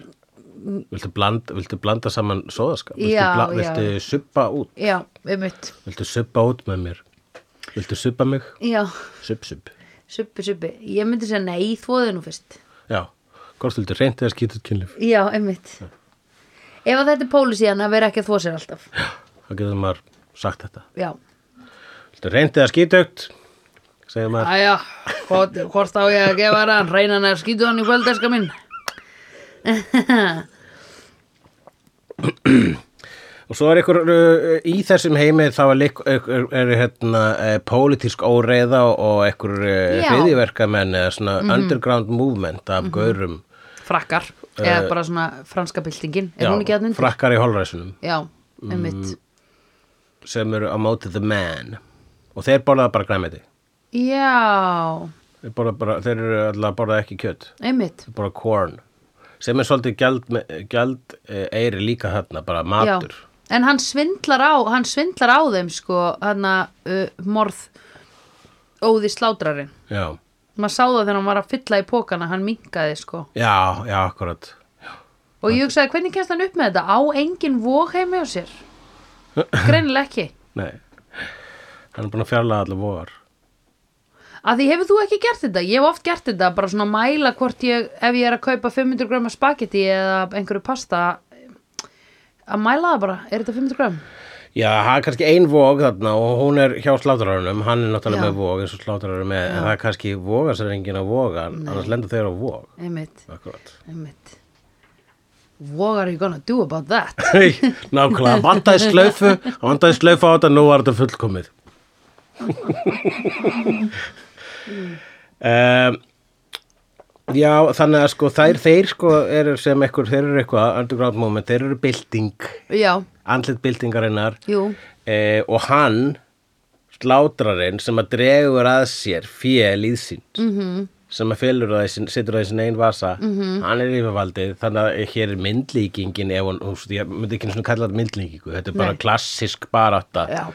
B: viltu blanda, viltu blanda saman sóðaskap viltu,
A: Já,
B: bla-
A: já.
B: viltu suppa út
A: já, um mitt
B: viltu suppa út með mér viltu suppa mig,
A: já,
B: supp supp
A: suppi, suppi, ég myndi segja nei, þvoðu nú fyrst
B: já, hvort viltu reynt eða skýtut kynlif
A: já, um mitt ef að þetta er pólisíðan að vera ekki að þvo sér alltaf
B: þá getur maður sagt þetta
A: já,
B: viltu reynt eða skýtugt segir maður,
A: Æja, hvort, hvort á ég að gefa þér hann, reyna hann að skýtu hann í kvöldeska minn.
B: Og svo er ykkur, uh, í þessum heimi þá er, lík- er, er hérna, eh, pólitísk óreiða og ykkur
A: Já. Mhm.
B: hriðiverkamenn eða svona underground movement af gaurum.
A: Frakkar, eða bara svona franska byltingin, er hún ekki að nynda?
B: Frakkar í holræsunum
A: Já, einmitt.
B: sem eru á móti the man. Og þeir borðaða bara græmiti.
A: Já,
B: Þeir, borða bara, þeir eru alltaf að borða ekki kjött.
A: einmitt.
B: Þeir borða corn. Sem er svolítið gjald, gjald eiri líka þarna, bara matur.
A: Já. En hann svindlar á, hann svindlar á þeim sko, hann að uh, morð óði slátrarinn.
B: Já,
A: Maður sá það þegar hann var að fylla í pókana, hann minkaði sko.
B: já, já, akkurat.
A: Og ég hugsaði, hvernig kemst hann upp með þetta? Á engin vóg heimi á sér? Greinilega ekki.
B: Nei, hann er búin að fjarlæga allar vogar.
A: að því hefur þú ekki gert þetta ég hef oft gert þetta, bara svona mæla hvort ég ef ég er að kaupa 500 gröma spagetti eða einhverju pasta að mæla það bara, er þetta 500 grömm?
B: Já, það er kannski ein vóg þarna og hún er hjá slátrarunum, hann er náttúrulega
A: Já.
B: með vóg eins og slátrarar er með, en það er kannski vóga sér enginn á vóga, annars lenda þeir á vóg.
A: einmitt,
B: Akkurat.
A: einmitt what are you gonna do about that?
B: Nákvæmlega, hann vandaði slaufu, hann vandaði slaufu á þetta, nú var þetta fullkomið. um, já, þannig að sko þær, þeir sko eru sem ekkur, þeir eru eitthvað, underground moment, þeir eru bylting,
A: já,
B: andlit byltingarinnar
A: jú,
B: eh, og hann slátrarinn sem að dregur að sér fjö líðsýnd mm
A: Mhm.
B: -hmm. sem að fylur það, í sinn- setur það í sin einn vasa -hmm. hann er yfirvaldið þannig að hér er myndlíkingin ef hún, hún, ég myndi ekki einu sinni kalla þetta myndlíkingu þetta er bara
A: Nei.
B: klassisk barátta
A: já,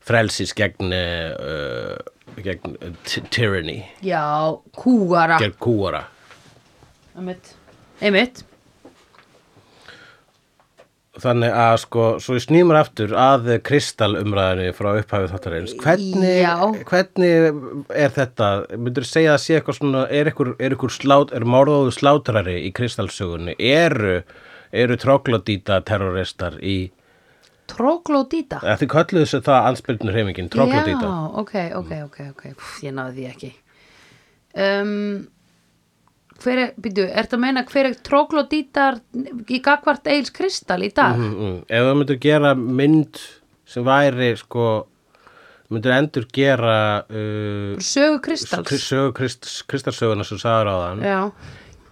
B: frelsis gegn, uh, gegn uh, ty- tyranny
A: já kúara
B: gegn kúara
A: einmitt, einmitt
B: Þannig að sko, svo ég snýmur aftur að kristalumræðinu frá upphæfið þáttarins.
A: Já.
B: Hvernig, hvernig er þetta? Myndur þú segja að sé eitthvað svona, er ykkur, er ykkur slát, er morðóðu slátrari í kristalsugunni? Eru, eru troglodýta terroristar í,
A: troglodita
B: að þið kölluðu þessu það anspyrnur heimingin, troglodýta. Mm.
A: Já, ok, ok, ok, ok Úff, Ég náði því ekki um, Hver er, býtu, ertu að meina hver er tróglodítar í gagvart Eils Kristall í dag?
B: Mm -mm. Ef þú myndur gera mynd sem væri sko, myndur endur gera uh,
A: Sögu Kristalls
B: sögu krist, kristalsuguna sem sagður á þann.
A: Já,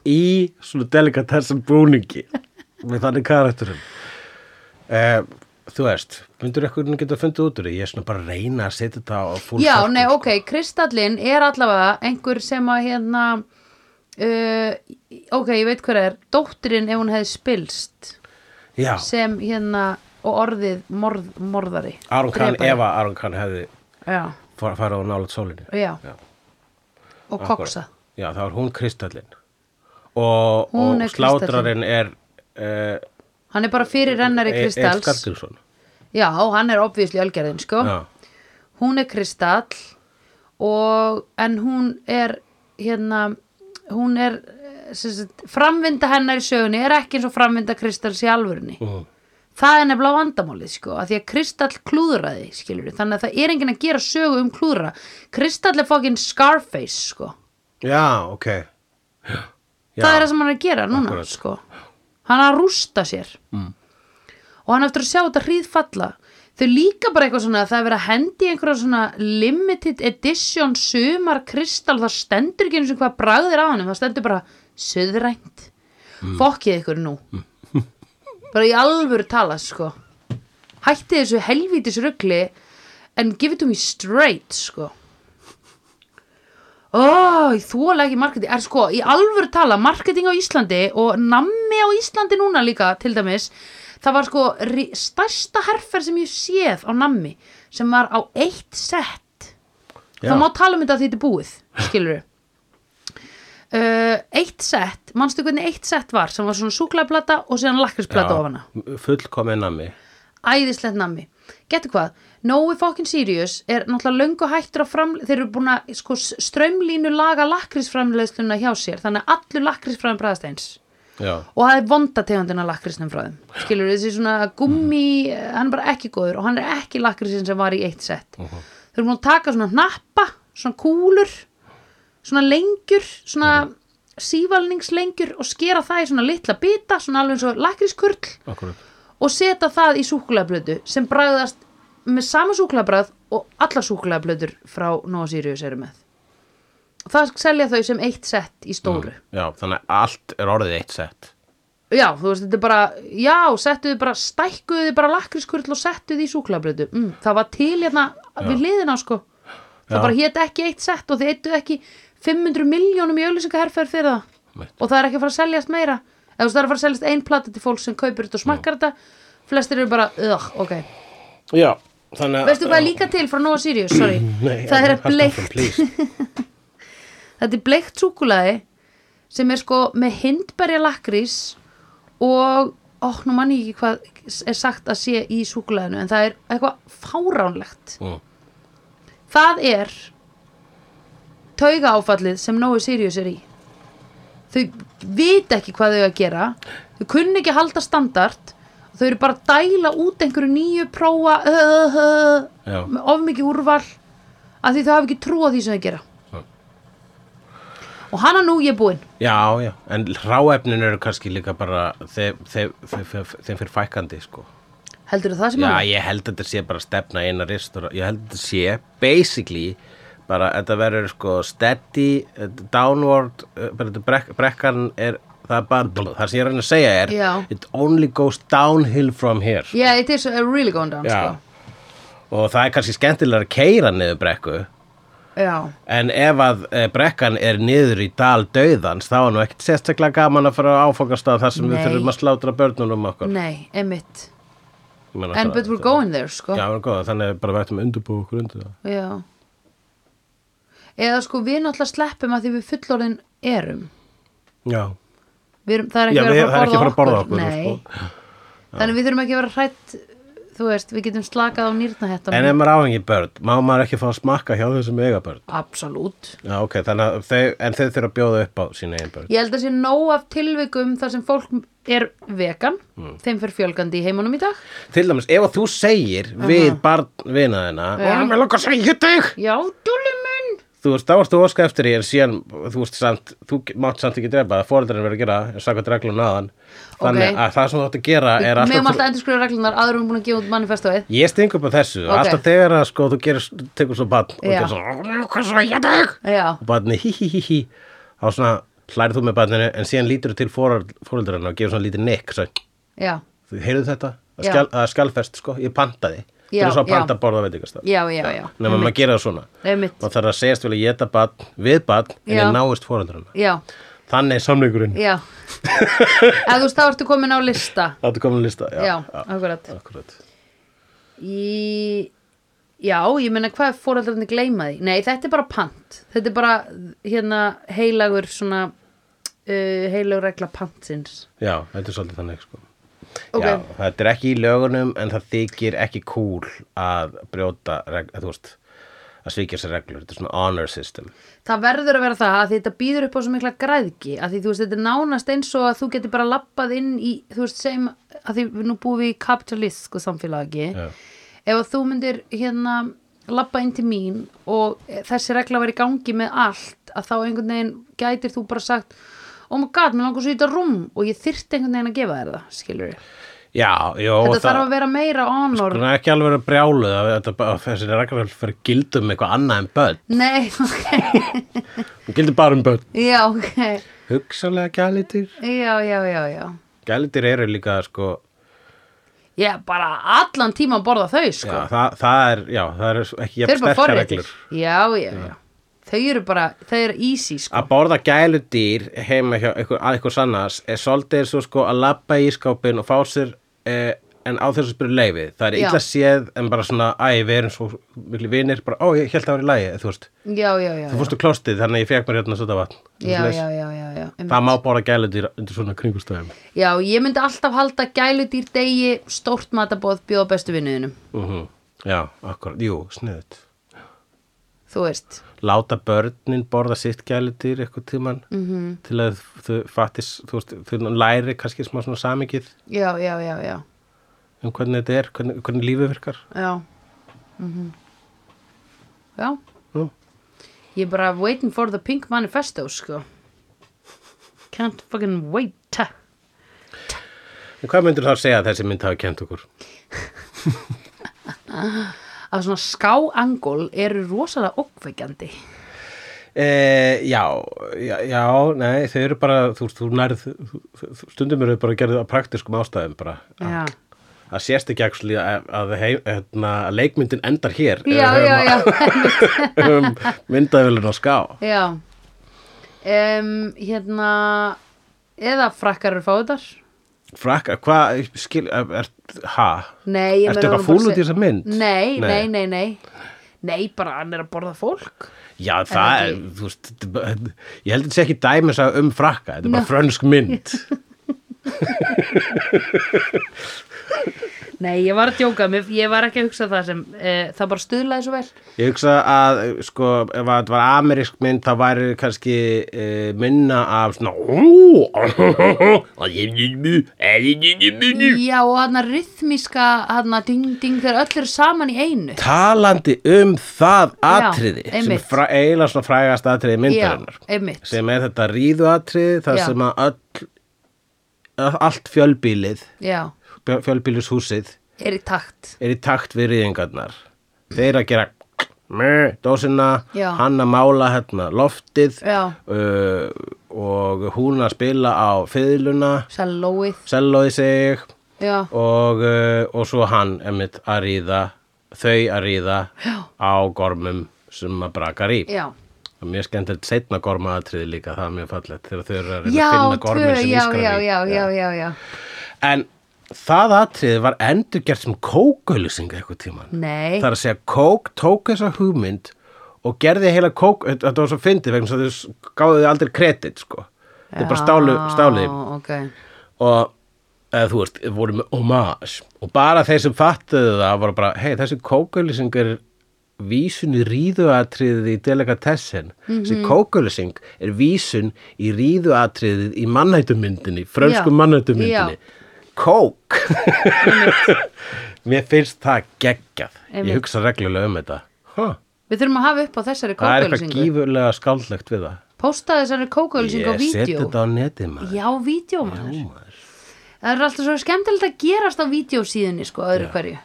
B: í svona delikatessan búningi með þannig karakterum uh, þú veist myndur ekkur geta fundið út úr því ég er svona bara að reyna að setja þetta á sko. fólk
A: Já, nei, ok, kristallin er allavega einhver sem að hérna uh, ok, ég veit hver er dóttirinn ef hún hefði spilst
B: já,
A: sem hérna og orðið morð, morðari
B: Aron Kahn,
A: drepari.
B: ef að Aron Kahn hefði
A: Já,
B: far- farið á nálat sólinni
A: já,
B: Já,
A: og
B: akkurat.
A: koksa
B: já, þá er hún kristallin og,
A: Hún er
B: og slátrarinn er uh,
A: Hann er bara fyrir rennari
B: Eir
A: kristals
B: Skartilsson
A: Já, hann er obvísli algerðin, sko
B: já,
A: hún er kristall og en hún er hérna hún er eh, sem sagt, framvinda hennar í sögunni er ekki eins og framvinda kristalls í alvörunni
B: Mhm.
A: það er nefnilega vandamálið sko að því að kristall klúðraði skilur þannig að það er enginn að gera sögu um klúðra kristall er fokkin Scarface sko
B: já, ok já.
A: það er það sem hann er að gera núna
B: Akkurat.
A: sko. hann er að rústa sér mm. og hann eftir að sjá þetta hríðfalla þau líka bara eitthvað svona að það er verið að hendi einhverja svona limited edition sumar kristall það stendur ekki eins og hvað bragðir á hann það stendur bara söðrænt fokkið ykkur nú bara í alvöru tala sko hætti þessu helvítis rugli en give it to me straight sko Ó, ég þóla ekki marketing er sko, í alvöru tala, marketing á Íslandi og nammi á Íslandi núna líka til dæmis, það var sko ri- stærsta herfer sem ég séð á nammi, sem var á eitt sett,
B: Já.
A: það má tala um þetta að þetta er búið, skilur uh, eitt sett manstu hvernig eitt sett var, sem var svona súklaðplata og síðan lakrisplata ofana
B: fullkomin nami
A: æðislegt nammi getur hvað, Nói fokkin Sirius er náttúrulega löngu hættur að framlega þeir eru búin að sko, strömlínu laga lakrísframleiðsluna hjá sér þannig að allur lakrísfræðin bræðast eins
B: já,
A: og það er vonda tegundin af lakrísnum frá þeim skilur þessi svona gummi hann er bara ekki góður og hann er ekki lakrísin sem var í eitt sett þeir eru búin að taka svona hnappa, svona kúlur svona lengjur svona sívalningslengjur og skera það í svona litla bita, svona alveg eins og lakrískurl
B: akkurat
A: og setja það í súkulaðblötu sem bragðast með sama súkulaðbragð og alla súkulaðblötur frá Nóa Sirius eru með. Og það selja þau sem eitt sett í stóru.
B: já, þannig að allt er orðið eitt sett
A: Já, þú veist, þetta er bara, já, settu þið bara, stækkuðu þið bara lakrískurl og settu þið í súkulaðblötu. Mm, það var til hérna við hliðina, sko. Það
B: Já.
A: bara hétt ekki eitt sett og þið eittu ekki 500 miljónum í auðlýsingaherferð fyrir það.
B: Mitt.
A: Og það er ekki að fara að seljast meira. Eða þú veist, það er að fara að seljast ein plata til fólk sem kaupir þetta og smakkar þetta. Flestir eru bara, ugh, ok.
B: já, þannig að
A: Veistu hvað er líka til frá Nóa Sirius, sorry
B: Nei,
A: Það er
B: haltu áfram,
A: bleikt.
B: please.
A: Þetta er bleikt súkulaði sem er sko með hindberja lakrís og ó, nú manni ekki hvað er sagt að sé í súkulaðinu en það er eitthvað fáránlegt
B: Mm.
A: Það er tauga áfallið sem Nói Sirius er í Þau vita ekki hvað þau eiga að gera Þau kunni ekki að halda standart Þau eru bara að dæla út einhverju nýju prófa uh, uh, uh,
B: Já.
A: með of mikið úrval að því þau hafa ekki trú á því sem þau gera
B: Já.
A: Og hana nú ég er búinn
B: Já, já, en ráefnin eru kannski líka bara þeim, þeim, þeim, þeim fyrir fækandi, sko.
A: Heldurðu það sem
B: Já,
A: hann?
B: ég held að þetta sé bara stefna í eina ristur, ég held að þetta sé basically bara að þetta verður sko steady, uh, downward, uh, bara þetta brek, brekkan er, það er bara, blú, það sem ég er að reyna að segja er,
A: Já.
B: it only goes downhill from here.
A: Yeah, it is uh, really going down
B: Já. Og það er kannski skemmtilega að keira niður brekku,
A: sko. Já
B: en ef að eh, brekkan er niður í dal döðans, þá er nú ekkert sérstaklega gaman að fara á áfangastað þar sem
A: Nei.
B: við þurfum að slátra börnunum okkar.
A: Nei, emitt
B: Ég meina
A: En
B: það-
A: but we're going there sko
B: Já, við erum góða, þannig að bara við ættum að undurbúa okkur undir það.
A: Já Eða sko við náttúrulega sleppum að því við fullorðin erum
B: Já,
A: Við erum, það er ekki
B: Já,
A: verið að
B: við- það er
A: fara
B: ekki
A: að
B: að fara að
A: borða
B: borða
A: okkur,
B: okkur, sko.
A: Nei, þannig við þurfum ekki að vera hrætt þú veist, við getum slakað á nýrnahettan
B: en ef maður áhengi börn, má maður ekki fá að smakka hjá þessum eiga börn.
A: Absolút
B: Já, ok, þannig að þau, en þau þurfa að bjóða upp á sína eigin börn.
A: Ég held að sé nóg af tilvikum þar sem fólk er vegan
B: Mm.
A: þeim fyrir fjölgandi í heimunum í dag
B: Til dæmis, ef að þú segir við barnvina þina,
A: Já.
B: og mér langar að segja þig,
A: Já, dúllu mun
B: þú veist, þá varstu óska eftir því, en síðan, þú veist, samt, þú mátt samt ekki drepa það, fóreldarinn verður að gera, það, en sakvað reglum naðan. Þannig
A: Ok.
B: að það sem þú átt að gera er
A: Við meðum
B: alltaf...
A: alltaf endur skrifa reglunar aðrum búin að gefa út manifestoið
B: Ég sting upp á þessu,
A: Ok.
B: alltaf þegar að sko þú gerir, tekur svo barn og
A: Já.
B: gerir svo, "Ó, mér langar að segja þig,
A: Já,
B: og barni hí hí hí hí þá svona hlærið þú með barninu en síðan lítur þú til fóreldrarna og gefur svona lítið nikk svo,
A: já,
B: Þú heyrðu þetta? Það
A: Já.
B: skjal, að skjálfest sko, ég pantaði
A: Já,
B: Þetta er svo að
A: já.
B: panta borða veitingastaf
A: já, já, já.
B: Nefnum maður gera það svona
A: Einmitt.
B: Maður þarf að segjast vel að geta badn við badn en
A: Já.
B: ég náist fóreldrana
A: já,
B: Þannig er samlingurinn
A: já eða þú veist, þá ertu komin á lista
B: Þetta komin að lista
A: já, akkurat
B: akkurat
A: í... já, ég meina hvað er fóreldrarnir gleyma því nei, þetta er bara pant þetta er bara hérna heilagur svona uh, heilagur regla pantsins
B: Já, þetta er svolítið þannig sko
A: Ok.
B: Já, þetta er ekki í lögunum en það þykir ekki cool að brjóta reg, að, þú veist, að svíkja sér reglur þetta er svona honor system
A: Það verður að vera það að því þetta býður upp á svo mikla græðgi að því þú veist þetta er nánast eins og að þú getur bara lappað inn í þú veist sem að því við nú búum við í kapitalísku samfélagi
B: Já.
A: ef að þú myndir hérna lappa inn til mín og þessi regla væri í gangi með allt að þá einhvern veginn gætir þú bara sagt oh my god, mér langar svo í þetta rúm og ég þyrfti einhvern veginn að gefa þér það, skilur við
B: Já, jó,
A: Þetta þarf að vera meira honor
B: Það er ekki alveg að brjálu að þetta bara- þessi reglur fyrir gildum eitthvað annað en börn
A: Nei, ok
B: Hún gildir bara um börn
A: Já, ok
B: Hugsanlega gælitir
A: Já, já, já, já
B: Gælitir eru líka sko
A: Ég bara allan tíma að borða þau sko.
B: já, það, það er, já, það er ekki
A: Þau
B: jafn
A: eru bara
B: sterkar
A: forréttir
B: reglur
A: Já, já, já Þau eru bara, þau eru easy sko.
B: Að borða gæludýr heima hjá ykkur, að ykkur sannars er svolítið eins og sko að labba í skápin og fá sér eh, en á þessu spyrir leifið það er
A: Já.
B: illa séð en bara svona æ, við erum svo miklu vinir bara ó, ég held það var í lagi, þú veist
A: Já, já, já
B: þú fórstu klostið þannig að ég fekk mér hérna svona vatn Þú
A: Já,
B: veist,
A: já, já, já, já. einmitt.
B: það má borða gæludýr undir svona kringustöðum
A: já, ég myndi alltaf halda gæludýr degi stórt matabóð bjóða bestu vinnuðinum
B: uh Já, akkurat, jú, sniðut
A: Þú veist,
B: láta börnin borða sitt gæludýr eitthvað tíman
A: Mhm.
B: -hmm. til að þau fattis, þú veist, þau læri kannski smá svona samingið
A: já, já, já, já
B: um hvernig þetta er, hvernig, hvernig lífið virkar
A: Já Mhm. Já,
B: Nú,
A: ég er bara waiting for the pink manifesto sko Can't fucking wait
B: En hvað myndir þá að segja að þessi mynd hafi kent okkur?
A: Að svona skáangól eru rosalega okkveikjandi
B: E, já, já, já, nei, þau eru bara, þú, þú nærð, þú, þú- stundum eru þau bara gerðið á praktiskum ástæðum bara.
A: Já,
B: Það sést ekki actually að, að, heim, hérna, að leikmyndin endar hér. ef
A: já,
B: við
A: já, já.
B: höfum Myndaðvélun á ská.
A: Já um, Hérna Eða frakkar eru fáðar
B: Frakka, hvað, skil, er, ha?
A: Nei, ég
B: Ertu
A: meina honum bara
B: eitthvað fúll
A: að
B: út í
A: segja-
B: þessa mynd?
A: Nei,
B: Nei.
A: nei, nei, nei Nei, bara hann er að borða fólk
B: Já, það er,
A: ekki-
B: þú veist, þetta er bara- ég held að þetta sé ekki dæmis að um frakka, þetta er bara frönsk mynd.
A: Nei, ég var að djóka, mér, ég var ekki að hugsa það sem uh, Það bara stuðlaði svo vel
B: Ég hugsa að, sko, ef að þetta var amerísk mynd, þá væri kannski uh, minna af svona
A: Já, og hann að rithmíska hann að ding, ding Þegar öll eru saman í einu
B: Talandi um það atriði sem er
A: einmitt.
B: fra, eiginlega svona frægast atriði myndarinnar
A: Já, einmitt
B: sem er þetta ríðu atriði þar
A: Já.
B: sem að öll, að allt fjölbýlið
A: Já,
B: fjölbýlishúsið
A: er í takt
B: er í takt við rýðingarnar þeir að gera meh, dósina,
A: Já.
B: hann að mála hérna, loftið
A: Já.
B: uh, og hún að spila á fiðluna,
A: Salóið,
B: sellóði sig
A: já,
B: og, uh, og svo hann emitt að ríða, þau að ríða
A: Já.
B: á gormum sem að brakar í
A: já
B: og mjög skemmtilegt setna gormaatriði líka það er mjög fallegt þegar þau eru að reyna
A: Já,
B: að finna
A: tvö,
B: gormur sem
A: já,
B: ískrar
A: já,
B: í
A: já, já, já, já
B: en það atriði var endurgert sem kókaulusing eitthvað tíman
A: Nei,
B: Það er að segja, Coke tók þessa hugmynd og gerði heila Coke, þetta þetta var svo fyndið vegna þess að þau gáðu þau aldrei kredit, sko. Þau bara stálu, stáliði
A: Já, ok
B: og eða þú veist, voru með homage og bara þeir sem fattuðu það voru bara, hei, þessi kókauðlýsing er vísun í ríðuatriðið í delikatessen,
A: Mhm.
B: þessi kókauðlýsing er vísun í ríðuatriðið í mannættumyndinni, frönsku
A: Já.
B: mannættumyndinni
A: Já.
B: kók mér finnst það geggjað ég
A: Einmitt.
B: hugsa reglulega um þetta huh.
A: Við þurfum að hafa upp á þessari
B: það er eitthvað
A: kókauðlýsingu
B: gífurlega skáldlegt við það
A: Pósta þessari kókauðlýsingu á
B: ég seti
A: vídeo
B: þetta á netið maður
A: Já, vídeo maður Það er alltaf svo skemmtilegt að gerast á vídeosíðunni sko, öðru hverju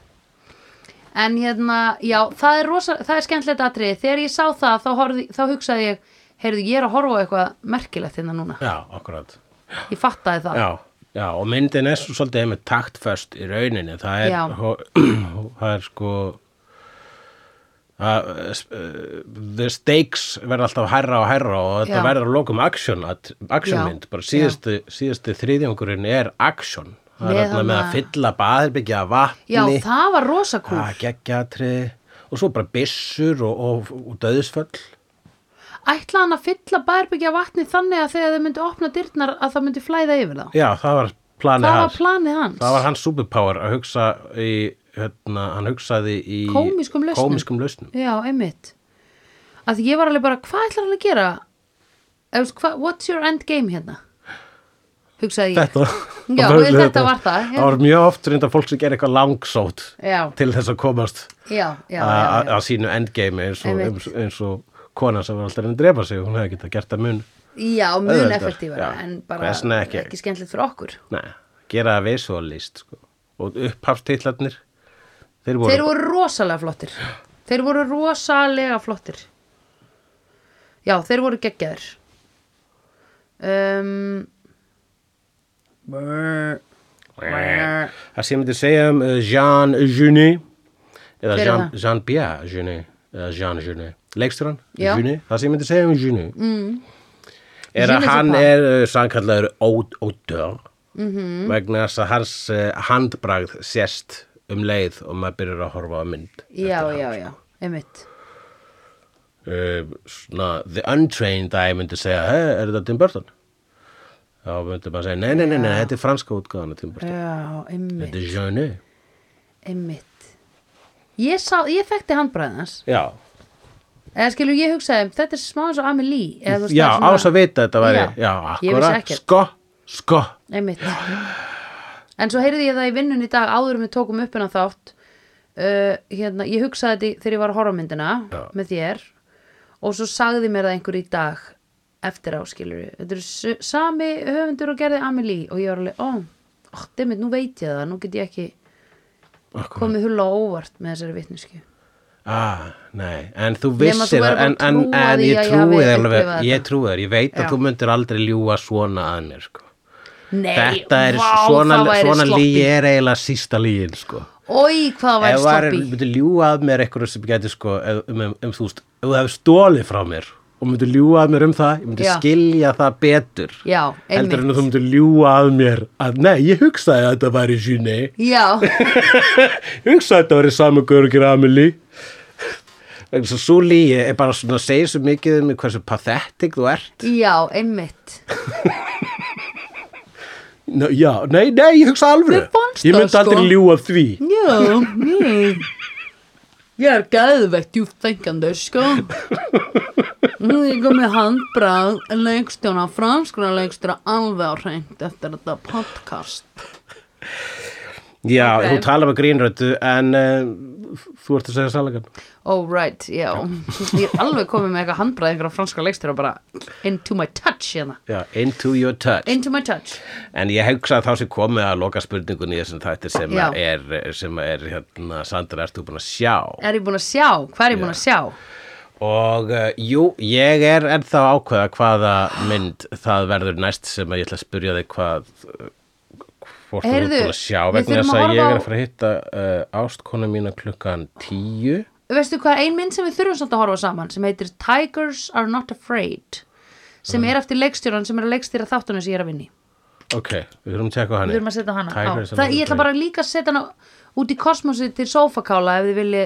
A: En hérna, já, það er, rosa, það er skemmtilegt atriði Þegar ég sá það, þá, horfði, þá hugsaði ég Heyrðu, ég er að horfa á eitthvað merkilegt hérna núna
B: já, akkurat
A: Ég fattaði það
B: já, Já, og myndin er svo svolítið með taktföst í rauninni, það
A: Já.
B: er, hó- það er sko að, eh, the stakes verða alltaf hærra og hærra og þetta
A: Já.
B: verður að lokum action, at- actionmynd,
A: Já.
B: bara síðusti, síðusti þriðjungurinn er action, það
A: Með
B: er alltaf með
A: hana-
B: að fylla baðherbyggja af vatni,
A: Já, það var rosa kúl.
B: að geggjatri og svo bara byssur og, og, og döðsföll.
A: Ætla hann að fylla bærbyggja vatni þannig að þegar þau myndi opna dyrnar að það myndi flæða yfir þá.
B: Já, það var planið
A: Það var
B: hans.
A: planið hans.
B: Það var hans superpower að hugsa í, hérna, hann hugsaði í
A: Kómískum lausnum.
B: kómískum lausnum.
A: Já, einmitt. Að því ég var alveg bara, hvað ætlar hann að gera? Eða, þú veist, hva, what's your end game hérna? Hugsaði ég.
B: Þetta,
A: Já,
B: það
A: þetta var það, já.
B: Það var mjög oft reynda fólk sem gerir eitthvað langsótt
A: Já.
B: til þess að komast
A: Já, já, já. já.
B: að að sínu endgame eins og,
A: Einmitt.
B: eins, eins og kona sem var alltaf að reyna að drepa sig hún hefði getað gert það mun.
A: Já, mun
B: Auðveldar,
A: effektífara,
B: já.
A: en bara
B: Hvers vegna ekki?
A: skemmtilegt fyrir okkur.
B: Nei, gera það visualist sko. og upphafstillarnir þeir voru,
A: Þeir voru rosalega flottir. Þeir voru rosalega flottir. Já, þeir voru geggjaðir. Um,
B: það sem ég myndi segja um uh, Jean Genet
A: Hver
B: eða
A: er
B: Jean,
A: það?
B: Jean Pierre Genet eða Jean Genet, leikstjóran
A: Já.
B: Genet, það sem ég myndi segja um Genet mm. er
A: Genet
B: að
A: er
B: hann
A: hvað?
B: er uh, sannkallaður ódör mm
A: Mhm.
B: -hmm. vegna þess að hans uh, handbragð sést um leið og maður byrjar að horfa á mynd
A: já, já,
B: sko.
A: já, einmitt.
B: uh, svona, the untrained að ég myndi segja, hey, er þetta Tim Burton? þá myndi maður segja, nei, nei, nei, nei þetta er franska útgáðan af Tim Burton
A: Já, einmitt,
B: þetta er Genet
A: einmitt. Ég, sá, ég þekkti handbræðans.
B: já,
A: Eða skilur, ég hugsaði, þetta er smá eins og Amelie. Eða, þú veist,
B: Já,
A: það er
B: ás að vita að þetta væri
A: Já.
B: Já,
A: Ég vissi
B: akkúrat.
A: ekkert.
B: Sko, sko
A: Einmitt. En svo heyrði ég það í vinnun í dag áður en við tókum upp hennar þátt. Uh, hérna, ég hugsaði þetta í- þegar ég var að horfa á myndina
B: Já.
A: með þér og svo sagði mér það einhver í dag eftir áskilur. Þetta er sami höfundur og gerði Amelie og ég var alveg, ó, oh, dimmit, nú veit ég það, nú get ég ekki
B: Akkurat.
A: komið hulla á óvart með þessari vitnisku.
B: Ah, nei, en þú
A: Nema þú
B: vissir
A: verður bara
B: en, en,
A: að trúa
B: en
A: því að
B: ég
A: ég
B: trúi
A: hafi
B: þér alveg
A: upplifað
B: Ég
A: þetta.
B: trúi þér, ég veit
A: Já.
B: að þú myndir aldrei ljúga svona að mér sko.
A: Nei,
B: Þetta er
A: vá,
B: svona,
A: það væri
B: svona
A: sloppy.
B: lígi er eiginlega sísta lígin sko.
A: Ói, hvað það
B: Ef
A: væri
B: var,
A: sloppy.
B: myndir ljúga að mér eitthvað sem gæti sko, ef- um, um, um, þú veist, ef þú hefur stólið frá mér og myndir ljúga að mér um það ég myndir
A: Já.
B: skilja það betur
A: Já,
B: heldur en
A: einmitt.
B: að þú myndir ljúga að mér að nei, ég hugsaði að þetta væri sinni
A: Já,
B: Ég hugsa að þetta verið saman gaur og gera Amelie vegna svo svo líi er bara svona að segja svo mikið um hversu pathetic þú ert
A: já, einmitt.
B: Ná, já, nei, nei, ég hugsa alveg
A: Mér fannst
B: ég
A: það,
B: myndi aldrei
A: sko.
B: ljúga því
A: Já, mjög. Ég er gæðvegt djúftækjandi, sko. Nú er ég kom með handbrað leikstjóna, franskra leikstjóra alveg á hreint eftir þetta podcast.
B: já,
A: Ok.
B: þú talar með grínrötu en uh, þú ert að segja sannleikan
A: Oh right, já. Ég er alveg komið með eitthvað handbrað einhverja franskra leikstjóra bara into my touch hérna.
B: já, into your touch
A: Into my touch.
B: en ég hugsa að þá sem komið að loka spurningunni í þessum þætti sem
A: Já.
B: að er, sem að er hérna, Sandra, ertu búin að sjá
A: Er ég búin að sjá? Hvað er ég búin að sjá?
B: Og uh, jú, ég er ennþá að ákveða hvaða mynd það verður næst sem að ég ætla að spyrja þig hvað uh, hvort þú ert
A: Heyrðu,
B: búin að sjá
A: við
B: vegna
A: þurfum
B: þess
A: að
B: að
A: horfa
B: ég er
A: á-
B: að fara að hitta uh, ástkonu mína klukkan tíu
A: veistu hvað er ein mynd sem við þurfum svolítið að horfa á saman sem heitir Tigers Are Not Afraid
B: Mm.
A: sem er eftir leikstjóran sem er að leikstýra þáttunum sem ég er að vinni
B: Ok, við þurfum að tjekka hann
C: Við þurfum að setja hana á.
B: Tigers
A: það, ég ætla bara líka að setja hana út í kosmosi til sofakála ef þið vilji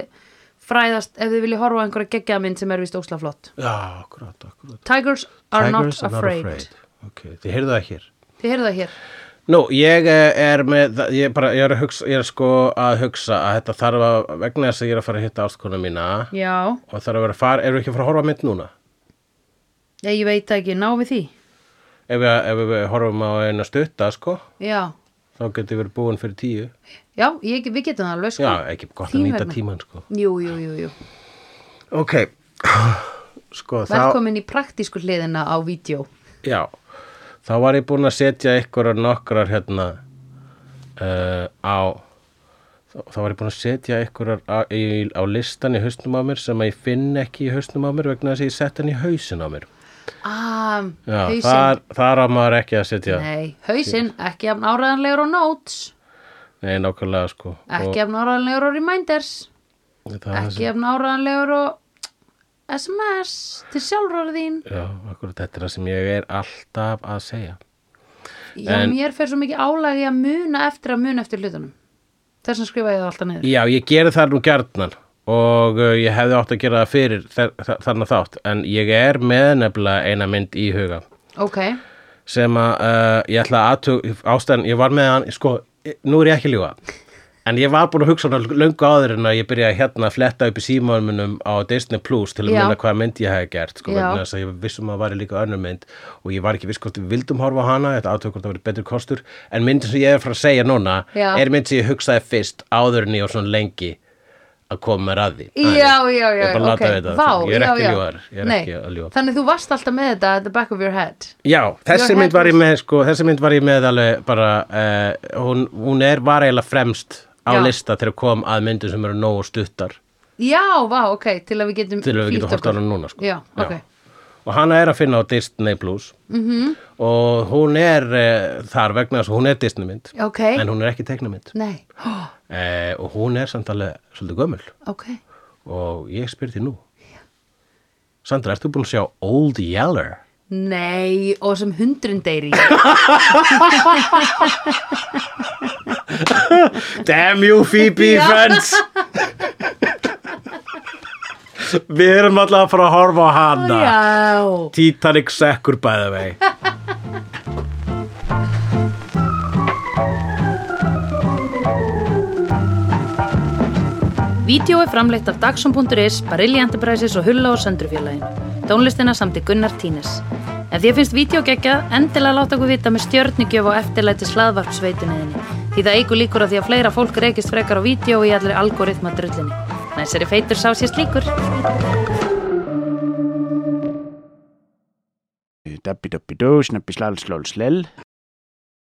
A: fræðast ef þið vilji horfa á einhverja geggjaða mynd sem er vist ósla flott
B: Já, akkurat, akkurat
A: Tigers Are
B: Tigers
A: Not Afraid,
B: Ok, þið heyrðu það hér
A: þið heyrðu það hér
B: Nú, ég eh, er með, það- ég, bara, ég, er að hugsa, ég er sko að hugsa að þetta þarf að, vegna þess að ég er að fara að hitta ástkonu mína
A: já,
B: og þarf að vera að fara, erum við ekki að fara að horfa á mynd núna?
A: ég, ég veit það ekki, ná við því
B: ef við, ef við horfum á eina stutta sko,
A: já,
B: þá getur við búin fyrir tíu
A: já ég, við getum það alveg sko
B: já, ekki gott
A: Þín
B: að nýta
A: vegna.
B: tíman sko.
A: jú, jú, jú, jú.
B: ok sko, þá,
A: velkomin í praktísku hliðina á vídeo
B: já, þá var ég búin að setja ykkur nokkrar hérna uh, á þá, þá var ég búin að setja ykkur á, í, á listan í hausnum á mér sem að ég finn ekki í hausnum á mér vegna þess að ég sett hann í hausin á mér
A: ah,
B: Já,
A: hausinn
B: þar, þar á maður ekki að setja
A: Nei, hausinn, ekki jafn áræðanlegur á notes
B: Nei, nákvæmlega sko
A: ekki jafn áræðanlegur á reminders
B: og, það,
A: ekki jafn áræðanlegur á SMS til sjálfráð þín
B: Já, akkurat þetta er það sem ég er alltaf að segja
A: Já,
B: En-
A: mér fer svo mikið álagi að muna eftir að muna eftir hlutunum þess að skrifa ég það alltaf niður
B: Já, ég geri það nú gjarnan og uh, ég hefði átt að gera það fyrir þar, þar, þarna þátt en ég er með nefnilega eina mynd í huga
A: Ok,
B: sem að uh, ég ætla að aðtug ástæðan, ég var með hann, sko nú er ég ekki að ljúga en ég var búin að hugsa hann löngu áður en að ég byrjaði hérna að fletta upp í símónunum á Disney Plus til að
A: Já.
B: muna hvaða mynd ég hef gert sko,
A: Já.
B: vegna þess að ég vissum að það væri líka önnur mynd og ég var ekki viss hvort við vildum horfa á hana þetta aðtöku hvort það verið betri kostur en myndin sem ég er frá að segja núna
A: Já.
B: er mynd sem ég hugsaði fyrst áður en ég var svona lengi að koma með ræði
A: já, já, já,
B: ég er
A: ok
B: bara að láta við þetta,
A: Vá,
B: ég er
A: já,
B: ekki
A: já.
B: ljúgar ég er
A: Nei,
B: ekki að ljúga
A: Þannig þú varst alltaf með þetta at the back of your head
B: Já, þessi
A: Your
B: mynd var ég
A: head
B: með, sko, þessi mynd var ég með alveg bara, uh, hún, hún er var eiginlega fremst á
A: Já.
B: lista þegar kom að myndir sem eru nógu stuttar
A: Já, vá, ok, til að við getum
B: til að við
A: flýtt
B: getum hort á
A: okkur.
B: hana núna, sko.
A: Já, ok
B: Og hana er að finna á Disney Plus
A: Mhm.
B: -hmm. og hún er uh, þar vegna þess að hún er Disney mynd,
A: Ok,
B: en hún er ekki teiknamynd
A: nei, oh,
B: uh, og hún er samt alveg svolítið gömul
A: ok
B: og ég spyr því nú. Sandra, ert þú búin að sjá Old Yeller?
A: Nei, og sem hundrun deyri
B: Damn you Phoebe
A: Já.
B: Friends Við erum alltaf að fara að horfa á hana
A: Já
B: Titanic sekkur bæða vei
A: Vídeó er framleitt af Dagsum.is, Barilli Enterprises og Hulla og Söndrufjörlægin Tónlistina samt í Gunnar Tínes Ef því að finnst vídeo geggja, endilega láta okkur vita með stjörnigjöf og eftirlæti slaðvarpsveituninni Því það eigur líkur að því að fleira fólk reykist frekar á vídeo í allri algoritma drullinni Næsari feitur sá sér slíkur
D: Dabbi dabbi dó, snabbi slal slól slel